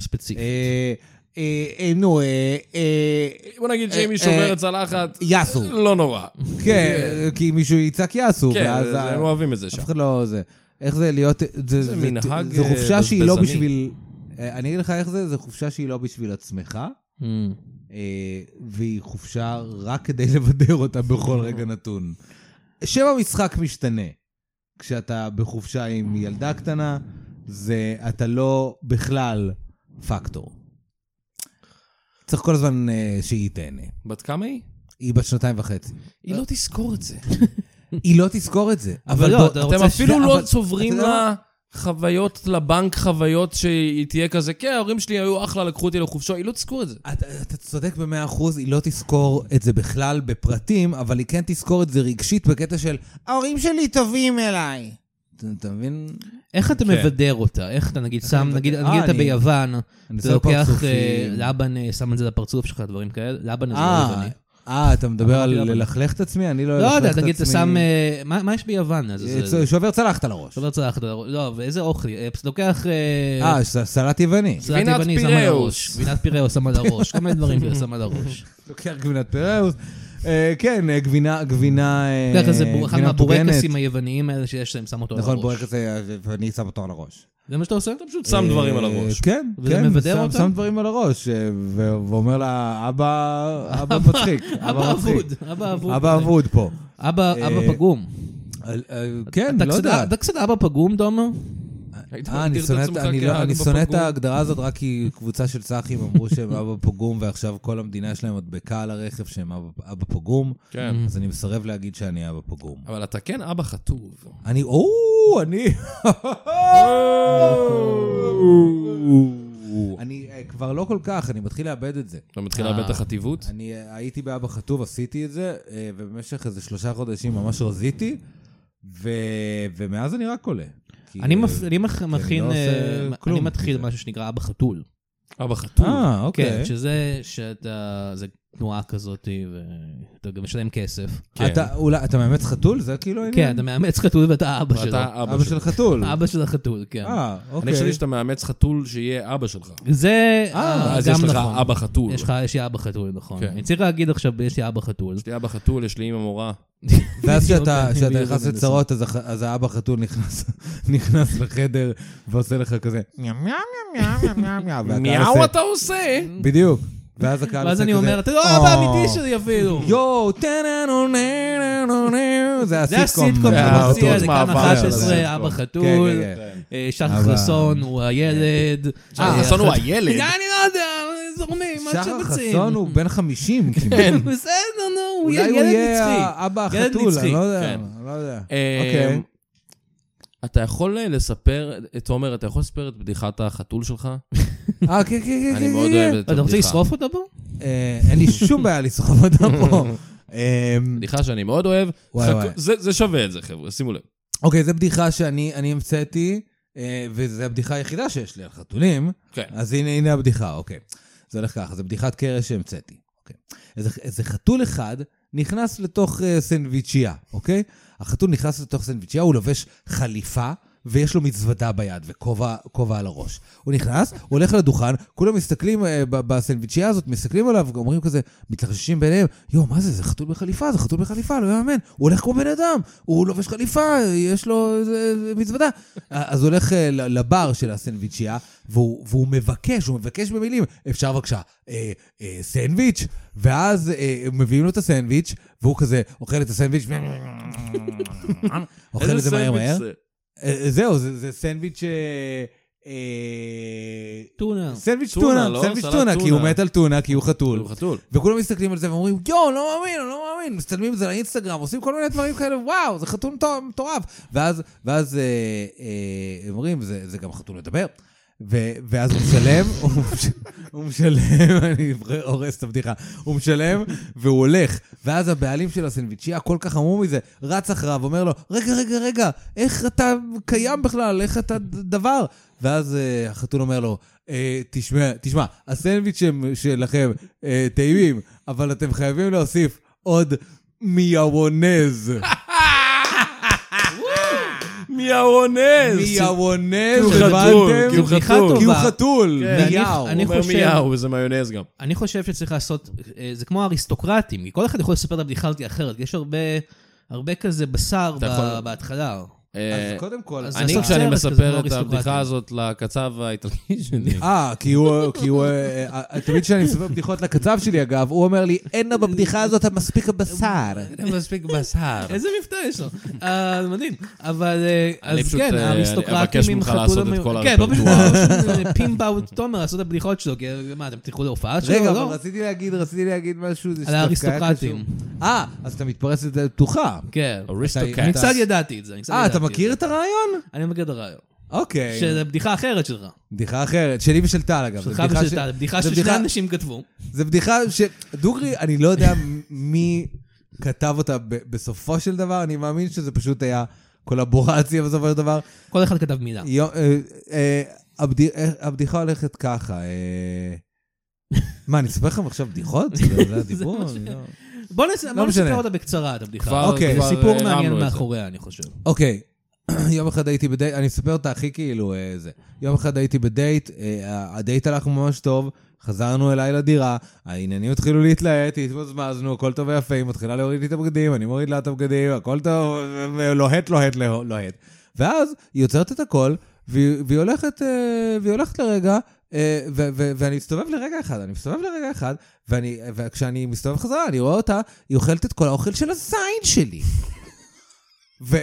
ספציפית. אה, אה, אה, נו, אה, אה, בוא נגיד שאם אה, היא אה, שוברת צלחת, יאסו. לא נורא. כן, כי מישהו יצעק יאסו, כן, ואז... זה- ה- הם אוהבים את זה שם. אף אחד לא... זה. איך זה להיות... זה זה- מנהג, זה אה, חופשה שהיא לא בזבזני. בשביל... אה, אני אגיד לך איך זה, זו חופשה שהיא לא בשביל עצמך, אמ. אה, והיא חופשה רק כדי לבדר אותה בכל רגע נתון. שם המשחק משתנה. כשאתה בחופשה עם ילדה קטנה, זה אתה לא בכלל פקטור. צריך כל הזמן אה, שהיא תהנה. בת כמה היא? היא בת שנתיים וחצי. היא לא תזכור את זה. היא לא תזכור את זה. אבל לא, בוא- אתה אתם רוצה אפילו שזה- לא אבל- צוברים אתה יודע לה חוויות, לבנק חוויות שהיא תהיה כזה, כן, ההורים שלי היו אחלה, לקחו אותי לחופשה, היא לא תזכור את זה. אתה, אתה צודק במאה אחוז, היא לא תזכור את זה בכלל בפרטים, אבל היא כן תזכור את זה רגשית בקטע של ההורים שלי טובים אליי. אתה, אתה מבין? איך אתה כן. מבדר אותה? איך אתה נגיד שם, אני נגיד מבדר? נגיד אה, אתה אני- ביוון, אני אתה עושה לוקח פרצופים. אה, לבן, אה, שם את זה לפרצוף שלך, דברים כאלה, לבן הזה לא אה, יווני. אה, אתה מדבר על אמרתי אבל- ללכלך את עצמי? אני לא לא אלכלך את יודע, עצמי. נגיד אתה שם, אה, מה מה יש ביוון? אז זה- אה, שובר צלחת על הראש. שובר צלחת, לא, ואיזה אוכל, אה, פשוט לוקח... אה, אה, ס- סלט יווני. סלט גבינת יווני, שם על פיראוס. הראש. גבינת פיראוס שם על הראש, כל מיני דברים כאלה שם על אה, הראש. לוקח גבינת פיראוס. אה, כן, אה, גבינה, גבינה, אה, אתה יודע, כזה בור- אחד גבינה מטוגנת. מהבורקסים היווניים האלה שיש להם, שם אותו על הראש. נכון, בורקס, אה, ואני שם אותו על הראש. זה מה שאתה עושה? אתה פשוט שם דברים על אה, הראש. כן, וזה כן, מבדר שם- אותם? שם דברים על הראש, אה, ו- ואומר לה, אבא, אבא מצחיק, אבא אבא מצחיק. אבוד, אבא אבוד. אבא אבוד פה. אבא אבא אה, פגום. על- על- כן, אתה לא קצת- יודע. אתה קצת אבא פגום, תומר? היית אה, אני מגדיר את שונא את- עצמך אני כאבא לא- אני שונא את פגום? ההגדרה הזאת רק כי קבוצה של צחים אמרו שהם אבא פגום, ועכשיו כל המדינה שלהם מדבקה על הרכב שהם אבא- אבא פגום, כן. אז אני מסרב להגיד שאני אבא פגום. אבל אתה כן אבא חטוב. אני, או, אני... אה. אני אה, כבר לא כל כך, אני מתחיל לאבד את זה. אתה מתחיל לאבד את החטיבות? אני אה, הייתי באבא חטוב, עשיתי את זה, אה, ובמשך איזה שלושה חודשים ממש רזיתי, ו- ומאז אני רק עולה. כי, אני אה, מפ- אני מח- מכין, לא אה, עושה אני כלום. מתחיל משהו שנקרא אבא חתול. אבא חטוב. אה, כן, אוקיי. שזה, שאתה, זה תנועה כזאת, ואתה גם משלם כסף. אתה אולי- אתה מאמץ חתול? זה כאילו העניין? כן, אתה מאמץ חתול ואתה אבא שלו. ואתה אבא אבא שלו. של חתול. אבא של החתול, כן. אה, אני אוקיי. חשבתי שאתה מאמץ חתול שיהיה אבא שלך. זה אה, אז גם יש לך נכון. אבא חתול. יש לך, יש לי אבא חתול, נכון. כן. אני צריך להגיד עכשיו, יש לי אבא חתול. יש לי אבא חתול, יש לי אימא מורה. ואז בדיוק, כשאתה אני כשאתה בדיוק נכנס מנסה. לצרות, אז הח- אז האבא חתול נכנס- נכנס לחדר ועושה לך כזה, "מיאו, מיאו, מיאו, מיאו, מיאו, אה, מיאו", והקהל עושה- מיהו אתה עושה? בדיוק. ואז הקהל ואז עושה אני כזה, אומר, אתה לא "אה, אבא אמיתי שלי אפילו. יואו, טננו, ננו, ננו. זה זה הסיטקום. הסיטקום אה, האוטו, שמציע, זה מעבר כאן של 11, הסיטקום. אבא כן, חתול, כן, כן. אה, שחר אבל- חסון הוא הילד. שחר אה, חסון הוא הח- הילד? אה, אני לא יודע, זורמים, מה שחר שמציעים. חסון הוא בן 50 כמעט. בסדר, נו, הוא אולי יהיה הוא ילד יהיה נצחי. האבא כן. ילד החתול, נצחי, אני לא יודע. כן. אני לא יודע. אה, אוקיי. אתה יכול אה, לספר, תומר, אתה יכול לספר את בדיחת החתול שלך? אה, כן, כן, כן. אני כן, מאוד אוהב כן. את הבדיחה. אתה רוצה לשרוף אותה פה? אה, אין לי שום בעיה לסחוב אותה פה. אה, בדיחה שאני מאוד אוהב. וואי, חכו- וואי. זה זה שווה את זה, חבר'ה, שימו לב. אוקיי, זו בדיחה שאני אני המצאתי, אה, וזו הבדיחה היחידה שיש לי על חתולים. כן. אז הנה, הנה הבדיחה, אוקיי. זה הולך ככה, זו בדיחת קרש שהמצאתי. אוקיי. איזה, איזה חתול אחד נכנס לתוך אה, סנדוויצ'יה, אוקיי? החתול נכנס לתוך סנדוויצ'יה, הוא לובש חליפה. ויש לו מזוודה ביד וכובע כובע על הראש. הוא נכנס, הוא הולך לדוכן, כולם מסתכלים אה, ב- בסנדוויצ'יה הזאת, מסתכלים עליו, אומרים כזה, מתלחששים ביניהם, יואו, מה זה, זה חתול בחליפה, זה חתול בחליפה, לא יאמן. הוא הולך כמו בן אדם, הוא לובש חליפה, יש לו איזה מזוודה. אז הוא הולך אה, ל- לבר של הסנדוויצ'יה, והוא, והוא מבקש, הוא מבקש במילים, אפשר בבקשה, אה, אה, סנדוויץ'? ואז אה, מביאים לו את הסנדוויץ', והוא כזה אוכל את הסנדוויץ', אוכל את זה מהר מהר. אה, זהו, זה זה סנדוויץ'... אה, אה, טונה. סנדוויץ' טונה, טונה, לא? סנדוויץ' סלט טונה, כי הוא טונה. מת על טונה, כי הוא חתול. הוא חתול. וכולם מסתכלים על זה ואומרים, יואו, לא מאמין, אני לא מאמין, מצטלמים את זה לאינסטגרם, עושים כל מיני דברים כאלה, וואו, זה חתול מטור- מטורף. ואז, ואז אה, אה, הם אומרים, זה, זה גם חתול מדבר. ו- ואז הוא משלם, הוא מש- הוא משלם, אני הורס את הבדיחה, הוא משלם והוא הולך. ואז הבעלים של הסנדוויצ'יה, כל כך אמור מזה, רץ אחריו, אומר לו, רגע, רגע, רגע, איך אתה קיים בכלל? איך אתה ד- דבר? ואז אה, החתול אומר לו, אה, תשמע, תשמע, הסנדוויצ'ים שלכם אה, טעימים, אבל אתם חייבים להוסיף עוד מיאוונז. מיאונז! מיאוונז, כי הוא חתול, הבנתם? כאילו כי הוא בדיחה חתול. כי הוא טובה. חתול, כן. מיאו. אני אני חושב... חושב- מיהו, וזה מיונז גם. אני חושב שצריך לעשות, אה, זה כמו אריסטוקרטים, כי כל אחד יכול לספר את הבדיחה הזאת אחרת, יש הרבה, הרבה כזה בשר אתה ב- יכול- בהתחלה. אה, אז קודם כל, אז- אני, זה כשאני סרט כזה, מספר את לא הבדיחה אריסטוקרטי. הזאת לקצב האיטלקי שלי, אה, כי הוא, כי הוא, אה, אה, תמיד כשאני מספר בדיחות לקצב שלי, אגב, הוא אומר לי, אין לה בבדיחה הזאת מספיק בשר. אין מספיק בשר. איזה מבטא יש לו? אה, זה מדהים. אבל אה, אני אז פשוט, כן, אה, האריסטוקרטים אבקש עם ממך חתול... לעשות את המ- כל כן, לא בשביל הרפרטואר. אה, פימבאו תומר לעשות את הבדיחות שלו, כי אה, מה, אתם תלכו להופעה שלו? רגע, אבל לא? רציתי להגיד, רציתי להגיד משהו, זה על שדווקא היה האריסטוקרטים. קשור. אה, אז אתה מתפרץ לדלת פתוחה. כן. אריסטוקרט. אני קצת ידעתי את זה, אני קצת אה, ידעתי אתה את מכיר זה. את הרעיון? אני מכיר את הרעיון. אוקיי. שזה בדיחה אחרת שלך. בדיחה אחרת, שלי ושל טל אגב. שלך זה בדיחה ושל ש- טל, בדיחה זה ששני אנשים כתבו. זה בדיחה ש... דוגרי, אני לא יודע מי כתב אותה ב- בסופו של דבר, אני מאמין שזה פשוט היה קולבורציה בסופו של דבר. כל אחד כתב מילה. יו- אה, אה, הבד- אה, הבדיחה הולכת ככה, אה, מה, אני אספר לכם עכשיו בדיחות? זה זה הדיבור? זה מה אני לא- בוא נס- בוא נספר משנה. אותה בקצרה, את הבדיחה. כבר- אוקיי. זה כבר סיפור הרמנו מעניין את זה. מאחוריה, אני חושב. אוקיי, יום אחד הייתי בדייט, אני אספר אותה הכי כאילו אה, זה. יום אחד הייתי בדייט, אה, הדייט הלך ממש טוב, חזרנו אליי לדירה, העניינים התחילו להתלהט, התמזמזנו, הכל טוב ויפה, היא מתחילה להוריד לי את הבגדים, אני מוריד לה את הבגדים, הכל טוב, אה, לוהט, לוהט, לוה- לוהט. ואז היא עוצרת את הכל, והיא והיא הולכת, אה, והיא הולכת לרגע, אה, ו- ו- ואני מסתובב לרגע אחד, אני מסתובב לרגע אחד, ואני- וכשאני מסתובב חזרה, אני רואה אותה, היא אוכלת את כל האוכל של הזין שלי. ו...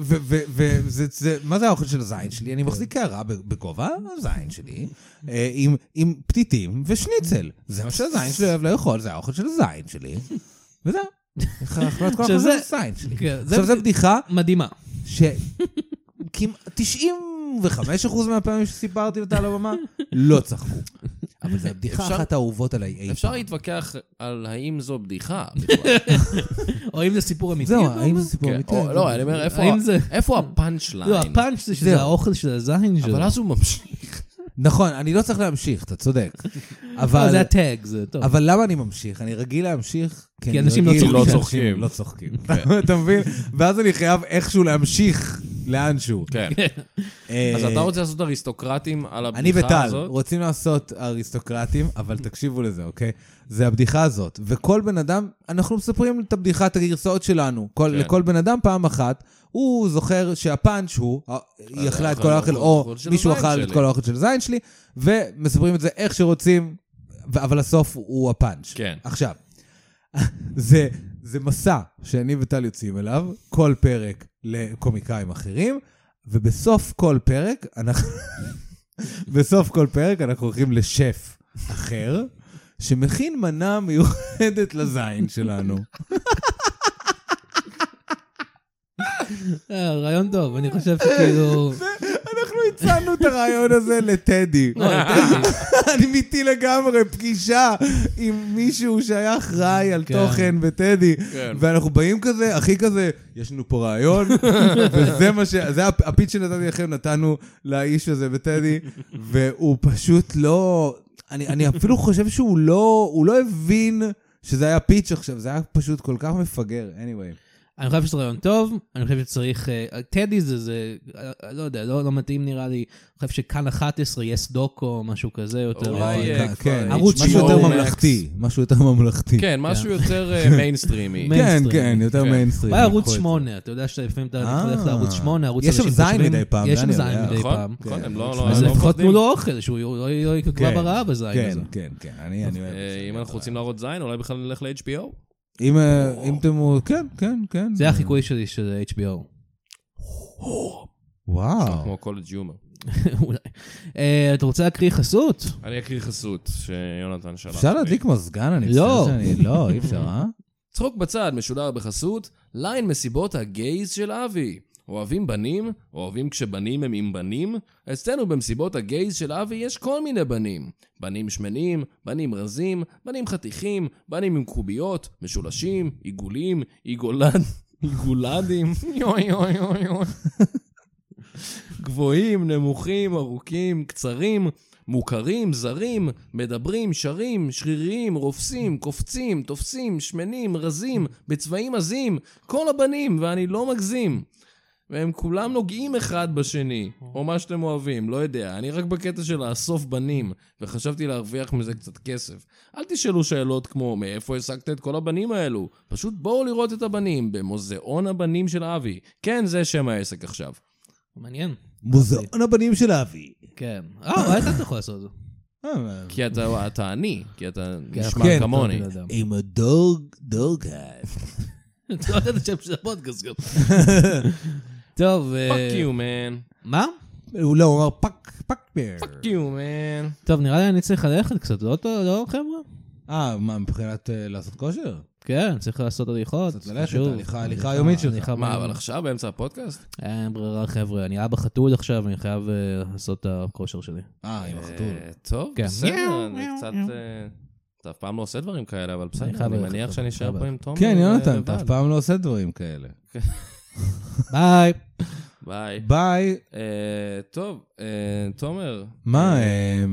ו... ו... ו... זה... זה... מה זה האוכל של הזין שלי? כן. אני מחזיק קערה ב- בגובה הזין שלי, אה, עם, עם פתיתים ושניצל. זה מה שהזין שלי אוהב לאכול, זה האוכל של הזין שלי. וזהו. איך אכלת כל האוכל של שזה- הזין שלי. כן, זה עכשיו, זו בדיחה מדהימה. שכמעט 95% מהפעמים שסיפרתי אותה על הבמה, לא צחקו. אבל זו הבדיחה אפשר- אחת האהובות עליי אי אפשר פעם. להתווכח על האם זו בדיחה בכלל. או אם זה סיפור אמיתי. זהו, אתה האם אומר? זה סיפור כן, אמיתי? או- לא, אני אומר, איפה האם ה- זה- איפה הפאנץ' ליין? לא, הפאנץ' זה שזה זהו. האוכל של הזין שלו. אבל אז הוא ממשיך. נכון, אני לא צריך להמשיך, אתה צודק. לא, אבל... זה הטאג, זה טוב. אבל למה אני ממשיך? אני רגיל להמשיך, כי אני אנשים לא רגיל- צוחקים. לא אנשים צוחקים. לא צוחקים. אתה מבין? ואז אני חייב איכשהו להמשיך לאנשהו. כן. אה, אז אתה רוצה לעשות אריסטוקרטים על אני הבדיחה וטל הזאת? רוצים לעשות אריסטוקרטים, אבל תקשיבו לזה, אוקיי? זה הבדיחה הזאת. וכל בן אדם, אנחנו מספרים את הבדיחה, את הגרסאות שלנו. כל, כן. לכל בן אדם פעם אחת, הוא זוכר שהפאנץ' הוא, אה, היא אכלה את אכל כל האוכל, האוכל או של מישהו הזין אכל את שלי. כל האוכל של הזין שלי, ומספרים את זה איך שרוצים, ו- אבל הסוף הוא הפאנץ'. כן. עכשיו, זה, זה מסע שאני וטל יוצאים אליו, כל פרק לקומיקאים אחרים, ובסוף כל פרק אנחנו... בסוף כל פרק אנחנו הולכים לשף אחר, שמכין מנה מיוחדת לזין שלנו. אה, רעיון טוב, אני חושב שכאילו... אנחנו הצענו את הרעיון הזה לטדי. לא, טדי. אני אמיתי לגמרי, פגישה עם מישהו שהיה אחראי על כן. תוכן בטדי. כן. ואנחנו באים כזה, הכי כזה, יש לנו פה רעיון, וזה מה ש... זה הפ- הפיץ שנתתי לכם, נתנו לאיש הזה בטדי, והוא פשוט לא... אני, אני אפילו חושב שהוא לא, הוא לא הבין שזה היה פיץ' עכשיו, זה היה פשוט כל כך מפגר, anyway. אני חושב שזה רעיון טוב, אני חושב שצריך... אה, טדי זה, זה, אה, לא יודע, לא לא מתאים נראה לי. אני חושב שכאן 11 יס דוקו, משהו כזה יותר. אולי, אה, אה, כן, כבר כן, ערוץ משהו יותר HBO Max. ממלכתי, משהו יותר ממלכתי. כן, משהו יותר אה, מיינסטרימי. מי- כן, מיינסטרים. כן, יותר כן. מיינסטרים. אולי ערוץ לקחו את זה. 8, אתה יודע שלפעמים אתה אה. הולך לערוץ 8, ערוץ יש שם אנשים זין חושבים- מדי פעם, יש שם דניאל, זין אה, מדי נכון? פעם. נכון, כן. הם לא... אז לא לפחות מפחדים. תנו לו אוכל, שהוא לא- לא יקבע כן. ברעב הזין כן, הזה. כן, כן, אני אני אוהב את זה. אה, אם אנחנו רוצים להראות זין, אולי בכלל נלך ל-HBO? אם, אה, אם אתם... כן, כן, כן. זה החיקוי שלי של HBO. וואו. אה. כמו קולג' יומר. אולי. אה, אתה רוצה להקריא חסות? אני אקריא חסות שיונתן שלח. אפשר לי. להדליק מזגן? אני לא. מצטער שאני... לא, אי אפשר, אה? צחוק בצד משודר בחסות ליין מסיבות הגייז של אבי. אוהבים בנים? אוהבים כשבנים הם עם בנים? אצלנו במסיבות הגייז של אבי יש כל מיני בנים. בנים שמנים, בנים רזים, בנים חתיכים, בנים עם קוביות, משולשים, עיגולים, עיגולד... עיגולדים, יואי יואי יואי יואי. גבוהים, נמוכים, ארוכים, קצרים, מוכרים, זרים, מדברים, שרים, שריריים, רופסים, קופצים, תופסים, שמנים, רזים, בצבעים עזים, כל הבנים, ואני לא מגזים. והם כולם נוגעים אחד בשני, או מה שאתם אוהבים, לא יודע. אני רק בקטע של לאסוף בנים, וחשבתי להרוויח מזה קצת כסף. אל תשאלו שאלות כמו, מאיפה השגת את כל הבנים האלו? פשוט בואו לראות את הבנים במוזיאון הבנים של אבי. כן, זה שם העסק עכשיו. מעניין. מוזיאון הבנים של אבי. כן. אה, אולי אתה יכול לעשות את זה. אה, כי אתה, אתה עני, כי אתה נשמע כן, כמוני. אתה בן אדם. עם הדוג, דוגהד. אתה לא יודע את השם של הפודקאסט גם. טוב, אה, פאק יו, מן. מה? הוא לא, הוא אמר פאק, פאק ביר. פאק יו, מן. טוב, נראה לי אני צריך ללכת קצת, לא- לא חבר'ה? אה, מה, מבחינת אה, לעשות כושר? כן, צריך לעשות הליכות. קצת ללכת, שוב. הליכה- הליכה היומית שלך. הליכה מה, ביום. אבל עכשיו באמצע הפודקאסט? אין ברירה, חבר'ה, אני אבא חתול עכשיו, אני חייב אה, לעשות את הכושר שלי. אה, עם החתול. אה, טוב, כן. בסדר, אני קצת... אה, אתה אף פעם לא עושה דברים כאלה, אבל בסדר, חייב אני ללכת, מניח שאני אשאר חייב פה עם תומר. כן, אה, יונתן, לבד. אתה אף פעם לא עושה דברים כאלה. ביי. ביי. ביי. אה, טוב, אה, תומר. מה, אה, אה,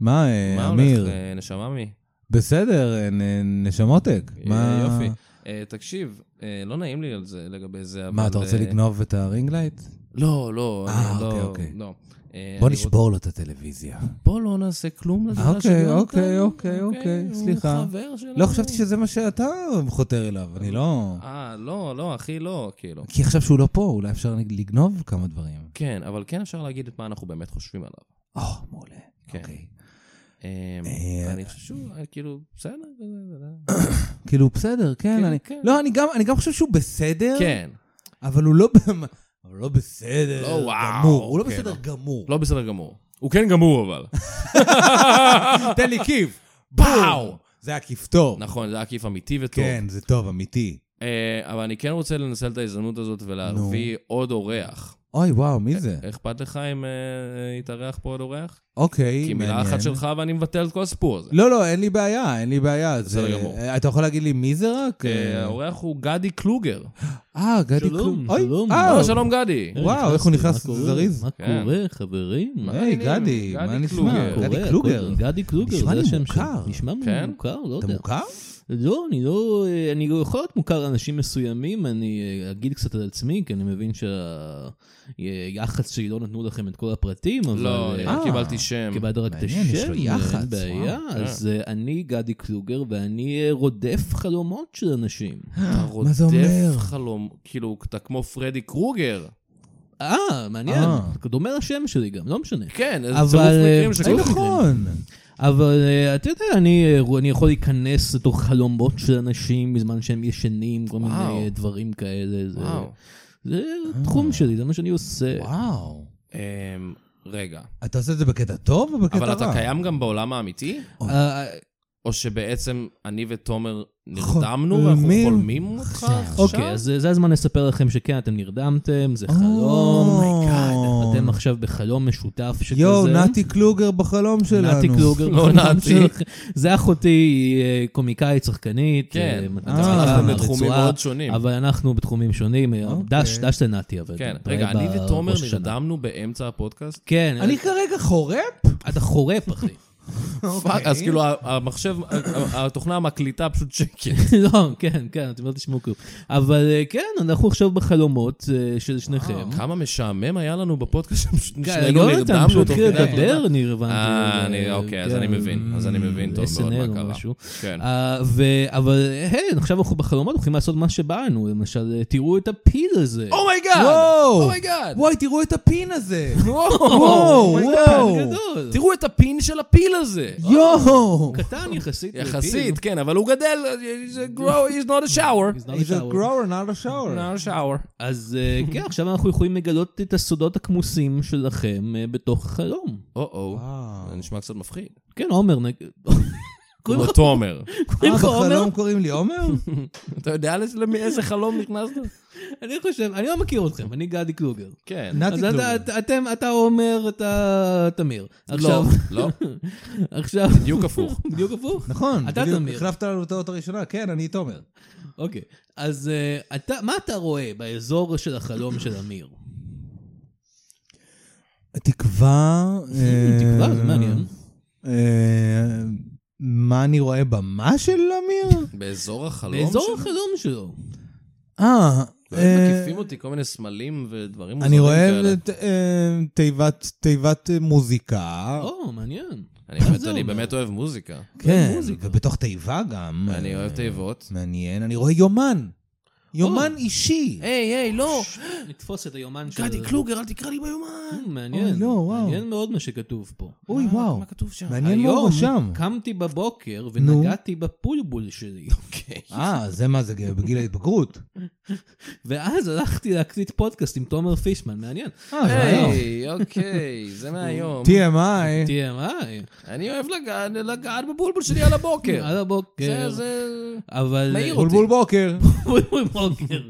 מה, אה, מה אמיר? הולך? אה, נשמה מי? בסדר, אה, נ- נשמותק. אה, מה... יופי. אה, תקשיב, אה, לא נעים לי על זה, לגבי זה, אבל... מה, אתה רוצה אה, לגנוב את הרינגלייט? לא, לא, אה, אני לא- אוקיי, אוקיי. לא. אה, בוא אני רוצ- נשבור לו את הטלוויזיה. בוא לא נעשה כלום לדבר אוקיי, של יונתן. אוקיי, אוקיי, אוקיי, סליחה. הוא חבר שלנו. לא חשבתי שזה מה שאתה חותר אליו, אני לא... אה, לא, לא, אחי, לא, כאילו. כי עכשיו שהוא לא פה, אולי אפשר לגנוב כמה דברים. כן, אבל כן אפשר להגיד את מה אנחנו באמת חושבים עליו. או, מעולה. כן. אוקיי. אמ, אה, אני חושב שהוא, אה, כאילו, בסדר. זה- זה- זה- כאילו, בסדר, כן, כן, אני... כן. לא, אני גם- אני גם חושב שהוא בסדר, כן, אבל הוא לא... במ- אבל לא בסדר לא, וואו, גמור. הוא לא כן, בסדר לא. גמור. לא בסדר גמור. הוא כן גמור, אבל. תן לי כיף. בואו! זה היה כיף טוב. לא. נכון, זה היה עקיף אמיתי וטוב. כן, זה טוב, אמיתי. אה, אבל אני כן רוצה לנצל את ההזדמנות הזאת ולהביא עוד אורח. אוי, וואו, מי זה? איך אכפת לך אם אה, אה, יתארח פה עוד אורח? אוקיי, כי מעניין. מילה אחת שלך ואני מבטל את כל הסיפור הזה. לא, לא, אין לי בעיה, אין לי בעיה. בסדר זה- גמור. אה, אתה יכול להגיד לי מי זה רק? אה, האורח הוא גדי קלוגר. כן. אה, גדי שלום, קלום. שלום. אה, אה, שלום גדי. וואו, איך הוא נכנס מה קורה? זריז. מה כן. קורה, חברים? מה היי, העניינים? גדי, מה גדי נשמע? קלוגר. קורה? גדי הכל- קלוגר. גדי קלוגר, נשמע זה לי השם שלו. מוכר. נשמע לי כן? מוכר, לא אתה יודע. מוכר? לא, אני לא... אה, אני לא יכול להיות מוכר לאנשים מסוימים, אני אה, אגיד קצת על עצמי, כי אני מבין שהיח"צ שלי לא נתנו לכם את כל הפרטים, אבל... לא, אני אה, רק אה, קיבלתי שם. קיבלת רק את מעניין, יש השם, לו יח"צ, אין בעיה. וואו. אז כן. אה, אני גדי קלוגר, ואני אה, רודף חלומות של אנשים. אתה מה זה אומר? רודף אה, חלום, כאילו, אתה כמו פרדי קרוגר. אה, מעניין. אה. דומה לשם שלי גם, לא משנה. כן, איזה אבל, צירוף אה, מקרים אה, שכל נכון. נכון. אבל אה, אתה יודע, אני, אה, אני יכול להיכנס לתוך חלומות של אנשים בזמן שהם ישנים, כל מיני וואו. אה, דברים כאלה. זה, וואו. אה. זה תחום שלי, זה מה שאני עושה. וואו. אמ, רגע, אתה עושה את זה בקטע טוב או בקטע רע? אבל אתה קיים גם בעולם האמיתי? אה, או שבעצם אני ותומר נרדמנו ואנחנו חולמים חולמים אותך עכשיו? אוקיי, אז אה, זה הזמן לספר לכם שכן, אתם נרדמתם, זה אה. חלום. Oh אומייגאד. אתם עכשיו בחלום משותף שכזה. יואו, נתי קלוגר בחלום שלנו. נתי קלוגר, לא בחלום נתי. שלכם. זה אחותי, היא אה, קומיקאית, שחקנית. כן, אה, אז מצליחה אנחנו מהרצועה, בתחומים מאוד שונים. אבל אנחנו בתחומים שונים. אה, אוקיי. דש, דש לנתי, אבל. כן, אתה רגע, רואה אני בראש ותומר שנה. נרדמנו באמצע הפודקאסט? כן, אני כרגע חורפ? Oh אתה חורף, אחי. אוקיי. פאק, אז כאילו ה- המחשב, ה- התוכנה המקליטה פשוט שקט. לא, כן, כן, אתם לא תשמעו כלום. אבל אה, כן, אנחנו עכשיו בחלומות אה, של שניכם. כמה משעמם היה לנו בפודקאסט שפשוט כן, שנינו לא יודעת, אני נרדמנו פשוט תוך התחיל כדי לדבר, הקלטה. אני הבנתי. אה, אני- אוקיי, אז כן, אני מבין, אז אני מבין טוב מאוד SNL מה או קרה. משהו. כן. אה, ו- אבל היי, עכשיו אנחנו בחלומות, יכולים לעשות מה שבא לנו. למשל, אה, תראו את הפיל הזה. Oh אומייגאד! וואו! אומייגאד! וואי, תראו את הפין הזה! Oh וואו! וואו! גדול. וואו! תראו את הפין של הפיל הזה! יואו! קטן יחסית. לפיל. יחסית, כן, אבל הוא גדל, he's a grow, he's not a shower. He's not a He's a shower. grower, not a shower. not a shower. לא אז אה, כן, עכשיו אנחנו יכולים לגלות את הסודות הכמוסים שלכם אה, בתוך החלום. או-או, וואו. זה נשמע קצת מפחיד. כן, עומר, נג- קוראים לא לך- תומר. קוראים אה, לך עומר? בחלום קוראים לי עומר? אתה יודע לס- למי- איזה חלום נכנסת? אני חושב, אני לא מכיר אתכם, אני גדי קלוגר. כן. נתי אז קלוגר. אתה- אתה- אתם, אתה עומר, אתה תמיר. לא, עכשיו, לא, עכשיו, בדיוק הפוך. בדיוק הפוך? נכון, אתה בדיוק, תמיר. החלפת לנו את האות הראשונה, כן, אני תומר. אוקיי. אז אה, אתה, מה אתה רואה באזור של החלום של אמיר? תקווה... אה, תקווה, זה מעניין. אה, מה אני רואה במה של אמיר? באזור החלום באזור שלו? החלום שלו. אה... והם אה, לא מקיפים אותי כל מיני סמלים ודברים אני מוזרים רואה כאלה. את, אה, תיבת- תיבת אה, מוזיקה. או, מעניין. אני באמת- זה אני אומר? באמת אוהב מוזיקה. כן, מוזיקה. ובתוך תיבה גם. אני אוהב תיבות. מעניין, אני רואה יומן. יומן אישי. היי, היי, לא! נתפוס את היומן של... גדי קלוגר, אל תקרא לי ביומן! אה, מעניין. אוי, לא, וואו. מעניין מאוד מה שכתוב פה. אוי, וואו. מה כתוב שם? מעניין מה הוא שם. קמתי בבוקר ונגעתי בפולבול שלי. אה, זה מה זה, בגיל ההתבגרות. ואז הלכתי להקליט פודקאסט עם תומר פישמן, מעניין. אה, זה היום. היי, אוקיי, זה מהיום. TMI. תהיה, מה? אני אוהב לגעת- לגעת בבולבול שלי על הבוקר. על הבוקר. כן. כן. זה- זה... אבל... מעיר אותי. בולבול בוקר. בולבול בוקר.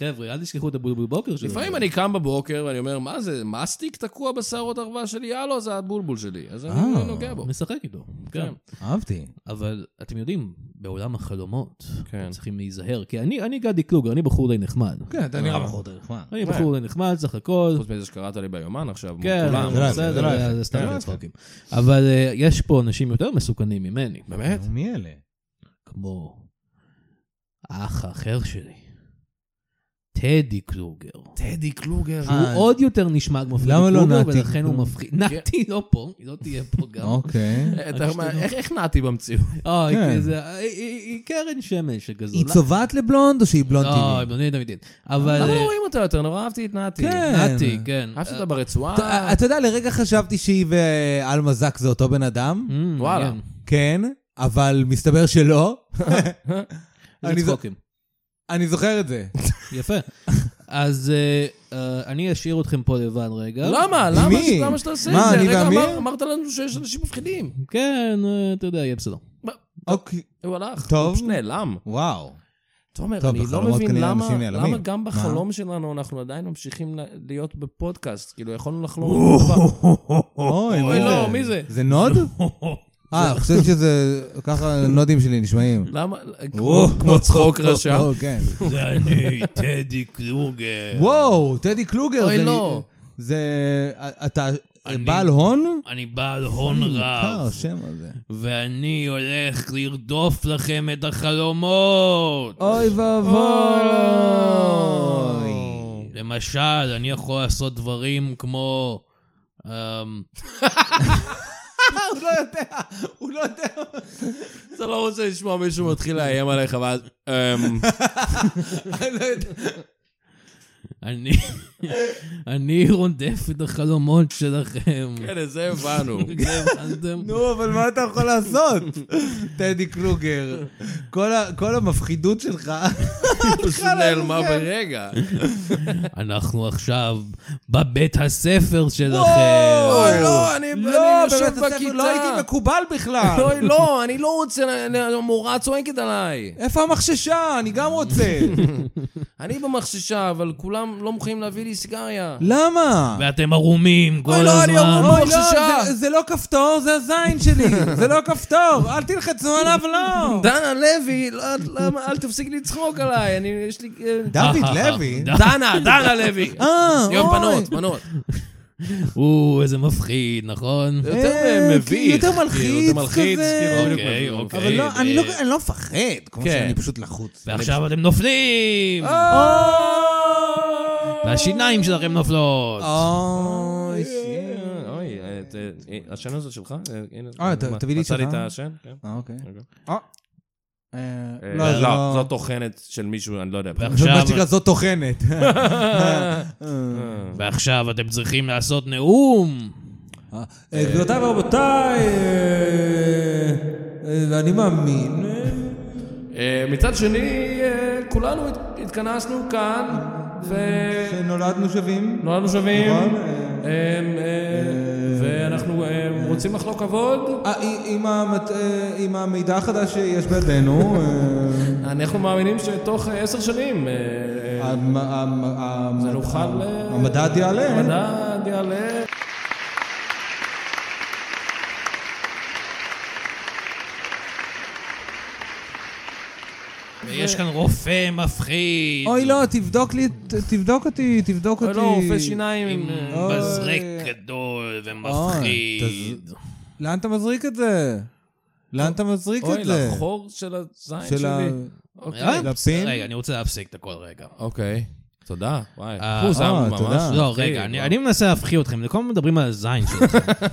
חבר'ה, אל תשכחו את הבולבול בוקר שלו. לפעמים אני קם בבוקר ואני אומר, מה זה, מסטיק תקוע בשערות ערווה שלי? הלו, זה הבולבול שלי. אז אני אה. נוגע בו. משחק איתו. כן. אהבתי. אבל אתם יודעים, בעולם החלומות, כן. אתם צריכים להיזהר. כי אני אני גדי קלוגר, אני בחור די נחמד. כן, אתה נראה בחור דרך מה. אני בחור די נחמד, סך הכל. כן. חוץ מזה שקראת לי ביומן עכשיו, כן, כולם. זה לא יפה, זה לא בסדר, יפה. זה זה סתם לא צחוקים. אבל אה, יש פה אנשים יותר מסוכנים ממני. באמת? נו, מי אלה? כמו האח האחר שלי, טדי קלוגר. טדי קלוגר. אה, הוא עוד יותר נשמע כמו פרידי למה לא קרוגר, נתי? ולכן הוא מפחיד. נתי לא פה, היא לא תהיה פה גם. אוקיי. אה, אתה אומר, איך- איך נעתי במציאות? אוי, כן. כי זה- היא- היא היא קרן שמש לא? שכזו. היא צובעת לבלונד או שהיא בלונד לא, טבעי? היא בלונדינית אמיתית. אבל... למה לא אה, רואים אותה יותר? נורא אהבתי את נעתי. כן. נתי, כן. אהבתי אה, אותה ברצועה. אתה- אתה יודע, לרגע חשבתי שהיא ואלמה זק זה אותו בן אדם? אמ, וואלה. מעניין. כן, אבל מסתבר שלא. איזה אני זו- צחוקים. אני זוכר את זה. יפה. אז אה, אה, אני אשאיר אתכם פה לבד רגע. למה? למה מי? ש- למה שתעשה את זה? מה, אני רגע, ואמיר? אמר- אמרת לנו שיש אנשים מפחידים. כן, אה, אתה יודע, יהיה בסדר. אוקיי. הוא הלך. טוב. הוא פשוט נעלם. וואו. תומר, טוב, אני לא בחלומות מבין כנראה למה, אנשים נעלמים. למה גם מה? בחלום שלנו אנחנו עדיין ממשיכים ל- להיות בפודקאסט. כאילו, יכולנו לחלום... על טיפה. אוי, אוי, לא, מי זה? זה נוד? אה, אני חושב שזה... ככה הנודים שלי נשמעים. למה? כמו- כמו צחוק רשע. או, כן. זה אני, טדי קלוגר. וואו, טדי קלוגר. אוי, זה- לא. זה... אתה אני- בעל הון? אני בעל הון אה, רב, השם הזה. ואני הולך לרדוף לכם את החלומות. אוי ואבוי. למשל, אני יכול לעשות דברים כמו... אמ, אה, הוא לא יודע, הוא לא יודע. אתה לא רוצה לשמוע מישהו מתחיל לאיים עליך, ואז... אמ, לא אני... אני רודף את החלומות שלכם. כן, זה הבנו. הבנתם? נו, אבל מה אתה יכול לעשות? טדי קלוגר, כל ה- כל המפחידות שלך. פשוט נעלמה ברגע. אנחנו עכשיו בבית הספר שלכם. אוי, לא, אני אני יושב בכיתה. לא הייתי מקובל בכלל. אוי, לא, אני לא רוצה, אני- המורה צועקת עליי. איפה המחששה? אני גם רוצה. אני במחששה, אבל כולם לא מוכנים להביא לי סיגריה. למה? ואתם ערומים כל לא, אני הזמן. ערום. אוי, לא, מחששה. זה- זה לא כפתור, זה הזין שלי. זה לא כפתור, אל תלחצו עליו, לא. דנה לוי, לא- למה- אל תפסיק לצחוק עליי, אני, יש לי... אה, דוד לוי? דנה, דנה לוי. אה, יום אוי. בנות, בנות. או, איזה מפחיד, נכון? זה יותר אה, אה, מביך. יותר מלחיץ כאילו, זה מלחיץ, כזה. כאילו, בדיוק אוקיי, מביך. אוקיי. אבל לא, אה, אני לא- אה. אני לא מפחד, כמו כן. שאני פשוט לחוץ. ועכשיו אתם נופלים! אה. והשיניים שלכם נופלות! אוי, אה, אוי, אה, את, אה, אה, השן הזה שלך? אה, הנה, אה, ת- מה, תביא לי את מצא לי שלך. את השן? כן. אה, אוקיי. אוקיי. אה. אה, אה, לא, זה לא, לא... זו טוחנת של מישהו, אני לא יודע. זה ועכשיו, מה שנקרא, זאת טוחנת. ועכשיו אתם צריכים לעשות נאום! אה, גבירותיי ורבותיי, אה, אה, ואני מאמין. אה, אה, מצד שני, אה, כולנו הת- התכנסנו כאן, ונולדנו שנולדנו שווים. שווים, נכון, אה, אה, ואנחנו אה, רוצים לחלוק כבוד. אה, עם- עם המת- אה, עם המידע החדש שיש בידינו, אה, אנחנו מאמינים שתוך אה, עשר שנים אה, אה, המ- המ- המ- נוכל... אה, המדד יעלה. המדד יעלה. ויש כאן רופא מפחיד! אוי לא, תבדוק לי, ת- תבדוק אותי, תבדוק אוי, אותי. לא, רופא שיניים. עם אה, אוי. מזרק גדול ומפחיד. אה, תז- לאן אתה מזריק את זה? לאן אתה מזריק אוי, את זה? לחור של הזין של ה... שלי. אה, אוקיי. לפין? רגע, אני רוצה להפסיק את הכל רגע. אוקיי. תודה. וואי. אה, אחוז, זה היה אה, ממש תודה. לא, מצחיק. רגע, אני אני מנסה להפחיד אתכם, אתם כל הזמן מדברים על הזין שלי.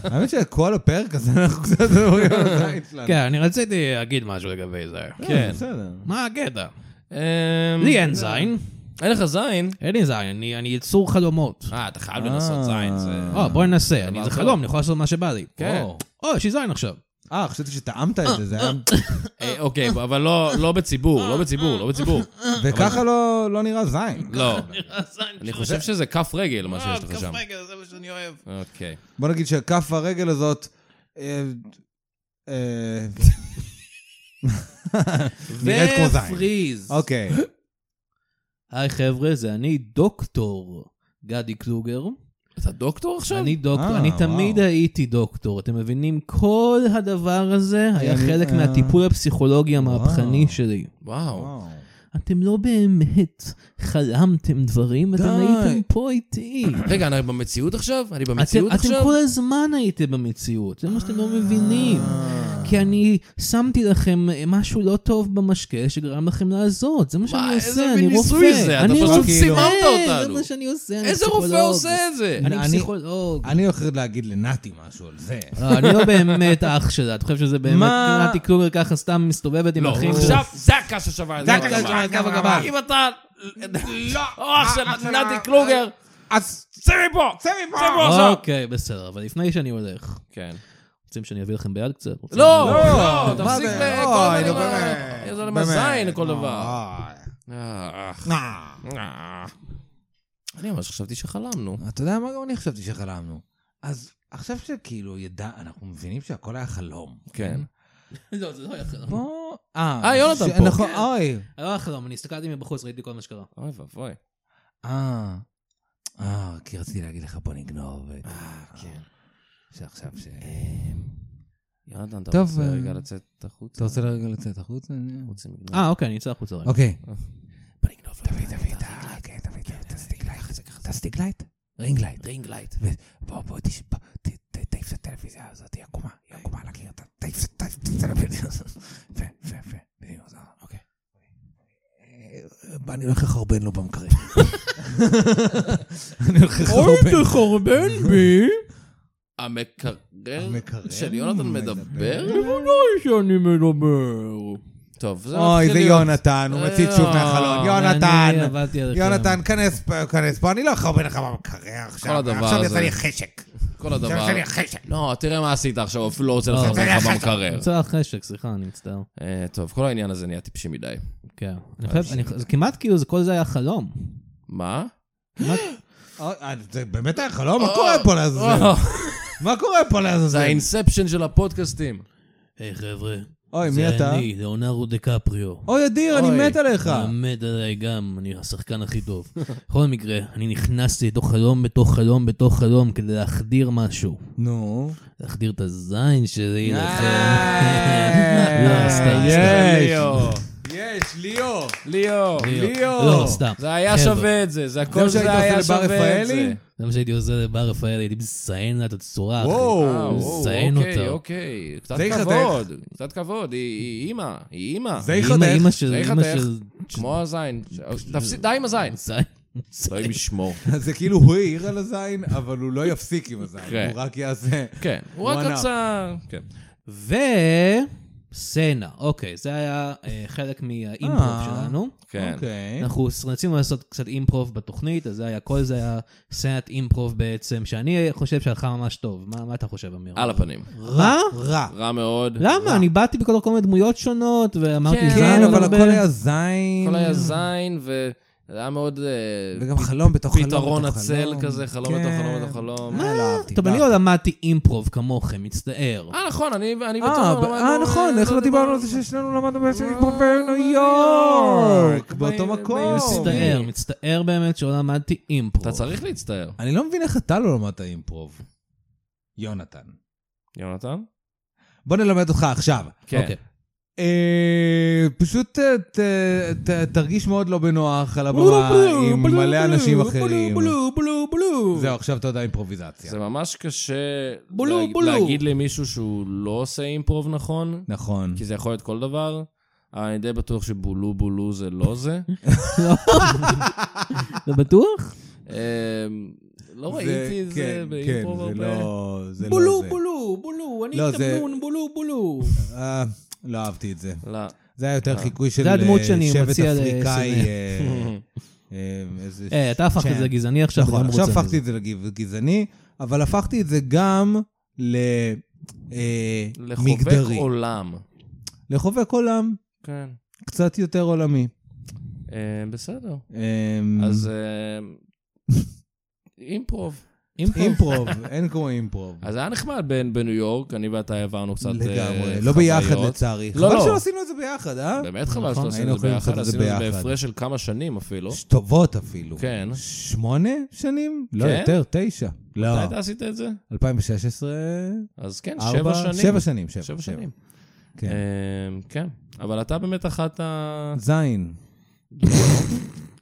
האמת שכל הפרק הזה אנחנו קצת מדברים על הזין שלנו. אה, כן, אני רציתי להגיד משהו לגבי זה. כן. בסדר. מה הקטע? אמ, אה, לי אין זין, אה, אין לך זין? אין לי זין, אני אני יצור חלומות. אה, אתה חייב לנסות זין, זה... או, אה, בוא ננסה, דבר אני זה טוב. חלום, אני יכול לעשות מה שבא לי. כן. או, או, יש לי זין עכשיו. אה, חשבתי שטעמת את זה, זה היה... אה, אוקיי, אבל לא- לא בציבור, לא בציבור, לא בציבור. וככה לא- לא נראה זין. לא. אני חושב שזה כף רגל, מה שיש לך שם. לא, זה מה שאני אוהב. אוקיי. בוא נגיד שכף הרגל הזאת... אה, אה, נראית כמו זין. ופריז. אוקיי. היי חבר'ה, זה אני דוקטור גדי קלוגר. אתה דוקטור עכשיו? אני דוקטור, אה, אני וואו. תמיד הייתי דוקטור. אתם מבינים? כל הדבר הזה היה אני- חלק אה. מהטיפול הפסיכולוגי המהפכני וואו. שלי. וואו. וואו. אתם לא באמת חלמתם דברים, אתם די. הייתם פה איתי. רגע, אני במציאות עכשיו? אני אתם, במציאות אתם עכשיו? כל הזמן הייתם במציאות, זה מה שאתם לא מבינים. אה. כי אני שמתי לכם משהו לא טוב במשקה שגרם לכם לעזות, זה מה שאני איזה עושה, מין אני רופא. ניסוי זה? אתה אני פשוט רופא, כן, סיממת זה אותנו. מה שאני עושה, אני איזה פסיכולוג. רופא עושה את זה? אני אני- פסיכולוג. אני הולך להגיד לנתי משהו על זה. לא, אני לא באמת אח שלה, אתה חושב שזה באמת, מה? נתי קלוגר ככה סתם מסתובבת עם לא, אחים שלה? עכשיו, זה הקש ששווה את זה הקש ששווה את גב הגמל. אה, אם אתה... לא, אח של נתי קלוגר, אז צא מפה! אה, צא מפה! צא מפה עכשיו! אוקיי, בסדר, אבל לפני שאני הולך, כן. רוצים שאני אביא לכם ביד קצת? רוצים- לא, לא, לא, מה תפסיק זה? לכל אוי, הדברים נו, האלה. באמת, זה באמת. למזין לכל דבר. אוי. אה, אה, אה. אה. אני ממש חשבתי שחלמנו. אתה יודע מה? גם אני חשבתי שחלמנו. אז עכשיו שכאילו ידע, אנחנו מבינים שהכל היה חלום. כן. לא, זה לא יכול. בוא פה? אה, אה, יונתן ש- פה. כן. נכון, אוי. אני לא אחרון, אני הסתכלתי מבחוץ, ראיתי כל מה שקרה. אוי ואבוי. אה. אה, כי רציתי להגיד לך, בוא נגנוב. את- כן. אה. שעכשיו ש... יונתן, אתה טוב, רוצה אה, רגע לצאת החוצה? אתה רוצה לרגע לצאת החוצה? רוצים לגנוב? אה, אוקיי, אני אצא החוצה רגע. אוקיי. בוא נגנוב לו. תביא, תביא, תביא, כן, תביא, את הסטיק לייט. את הסטיק לייט? רינג לייט. רינג לייט. בוא, בוא, תש- בוא, ת- ת- תעיף את הטלוויזיה הזאת, היא עקומה, היא עקומה על הקיר, ת- תעיף את תעיף את הטלוויזיה הזאת. יפה, יפה, יפה. בדיוק, זה- אוקיי. אה, אני הולך לחרבן לו במקרא. אני הולך לחרבן. תחרבן בי! המקרר המקרר של יונתן מדבר? שאני מדבר. טוב, זה לא אוי, מתחיל זה להיות- יונתן, הוא מציץ שוב אה, מהחלון. אני יונתן, עבדתי עליכם. יונתן, כן. כנס פה, כנס פה, אני לא אחרבן לך במקרר עכשיו. הדבר עכשיו הזה. יצא לי חשק. כל הדבר. יצא לי חשק. לא, תראה מה עשית עכשיו, אפילו לא רוצה לא, לחזור זה לך היה במקרר. יצא החשק, סליחה, אני מצטער. אה, טוב, כל העניין הזה נהיה טיפשי מדי. כן. אני חושב, אני- זה כמעט כאילו, זה- כל זה היה חלום. מה? אוי, אה, זה באמת היה חלום? מה קורה פה לעזאזל? מה קורה פה אה, זה לעזאזל? האינספשן של הפודקאסטים. אה, היי חבר'ה, אוי, מי זה אתה? אני, לאונרו דקפריו. אוי, אדיר, אני מת עליך. אה. אה. עומד עליי גם, אני השחקן הכי טוב. בכל מקרה, אני נכנסתי לתוך חלום, בתוך חלום, בתוך חלום, כדי להחדיר משהו. נו. להחדיר את הזין שלי כן. לכם. לא, אה, סתם, סתם. אה, יש. יש, ליאו. ליאו. לא, סתם. זה היה חבר'ה, שווה את זה, זה זה הכל מה זה שהיית היה עושה לבר שווה את רפאלי? זה. זה מה שהייתי עושה לבר רפאל, הייתי מזיין לה את הצורה. אחי. אה, וואו. וואו, מזיין אוקיי, אותה. אוקיי. קצת זה ייחתך. כבוד, קצת כבוד. היא- היא אימא, היא אימא. זה אימא, ייחתך. אימא של... זה אימא ייחתך. של... כמו הזין. ש- תפסיק, די עם הזין. זין. אלוהים ישמור. זה כאילו הוא העיר על הזין, אבל הוא לא יפסיק עם כן. הזין, הוא רק יעשה. כן, הוא רק One up. רצה... כן. ו... סצנה, אוקיי, זה היה אה, חלק מהאימפרוב אה. שלנו. כן. אוקיי. אנחנו רצינו לעשות קצת אימפרוב בתוכנית, אז זה היה, כל זה היה סצנת אימפרוב בעצם, שאני חושב שהלכה ממש טוב. מה, מה אתה חושב, אמיר? על הפנים. מה? רע. רע מאוד. למה? אני באתי בכל כל מיני דמויות שונות, ואמרתי כן, זין כן, אבל הרבה. הכל היה זין. הכל היה זין, וזה היה מאוד... אה, וגם חלום בתוך חלום. פתרון בתוך הצל חלום. כזה, חלום כן. בתוך חלום בתוך חלום. אה, לא אהבתי. טוב, לא אני אהבתי. לא למדתי אימפרוב כמוכם, מצטער. אה, נכון, אני אני אה, ותומר ב- למדנו, אה, נכון, איך לא דיברנו על זה ששנינו למדנו בעצם אה, להתגבר בניו יורק, באותו ב- ב- מקום. מצטער, מצטער באמת שלא למדתי אימפרוב. אתה צריך להצטער. אני לא מבין איך אתה לא למדת אימפרוב, יונתן. יונתן? בוא נלמד אותך עכשיו. כן. אוקיי. אה, פשוט אה, ת- ת- תרגיש מאוד לא בנוח על הבמה עם מלא אנשים אחרים. בלו, בלו. זהו, עכשיו אתה יודע אימפרוביזציה. זה ממש קשה בולו, להג- בולו. להגיד למישהו שהוא לא עושה אימפרוב נכון, נכון. כי זה יכול להיות כל דבר. אה, אני די בטוח שבולו בולו זה לא זה. אתה בטוח? אה, לא ראיתי את זה כן, באימפרוב כן, זה הרבה. לא... זה לא בולו, זה. בולו, בולו, אני לא, זה- טמון, בולו, בולו. אה, לא אהבתי את זה. לא. זה היה יותר חיקוי של הדמות אה, שאני שבט מציע אפריקאי. לסנן. אה, אה, איזה... היי, אתה הפכת את זה לא כן. גזעני עכשיו, נכון, גם עכשיו רוצה הפכתי את זה לגזעני, אבל הפכתי את זה גם למגדרי. לחובק עולם. לחובק עולם, כן. קצת יותר עולמי. אה, בסדר. אה, אז אה, אימפרוב. אימפרוב, אין כמו אימפרוב. אז היה נחמד ב- בניו יורק, אני ואתה העברנו קצת אה, לגמרי, לא חוויות. ביחד לצערי. לא, חבל לא. שלא עשינו את זה ביחד, אה? באמת חבל נכון, שלא עשינו היינו את זה ביחד, יכולים לעשות את זה עשינו את זה ביחד. בהפרש של כמה שנים אפילו. טובות אפילו. כן. שמונה שנים? לא, כן? יותר, תשע. לא. מתי אתה עשית את זה? 2016, אז כן, שבע ארבע, שנים. שבע שנים. שבע שבע שנים. כן. אה, כן. אבל אתה באמת אחת ה... זין.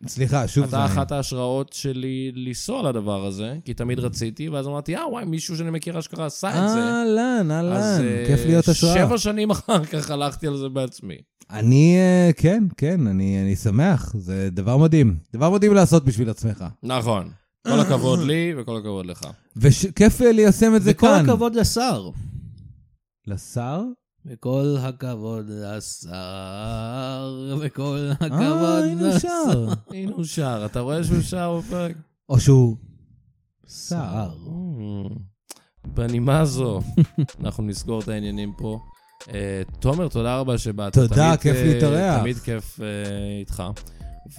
סליחה, שוב זין. אתה אחת ההשראות שלי לנסוע לדבר הזה, כי תמיד Mm. רציתי, ואז אמרתי, אה, וואי, מישהו שאני מכיר אשכרה עשה את זה. אהלן, אז, אהלן, אה, אה, כיף להיות השואה. שבע שנים אחר כך הלכתי על זה בעצמי. אני, אה, כן, כן, אני אני שמח, זה דבר מדהים. דבר מדהים לעשות בשביל עצמך. נכון. כל הכבוד לי וכל הכבוד לך. וכיף אה, ליישם את זה וכל כאן. הכבוד לשר. לשר? וכל הכבוד לשר, וכל אה, הכבוד הנה הוא לשר. שר. הנה הוא שר, אתה רואה שהוא שר בפרק? או שהוא... שר. אמ, בנימה זו, אנחנו נסגור את העניינים פה. אה, תומר, תודה רבה שבאת. תודה, תמיד, כיף אה, להתארח. תמיד כיף אה, איתך.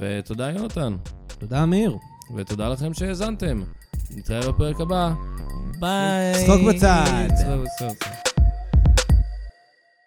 ותודה, יונתן. תודה, אמיר. ותודה לכם שהאזנתם. נתראה בפרק הבא. ביי. צחוק בצד. צחוק בצד.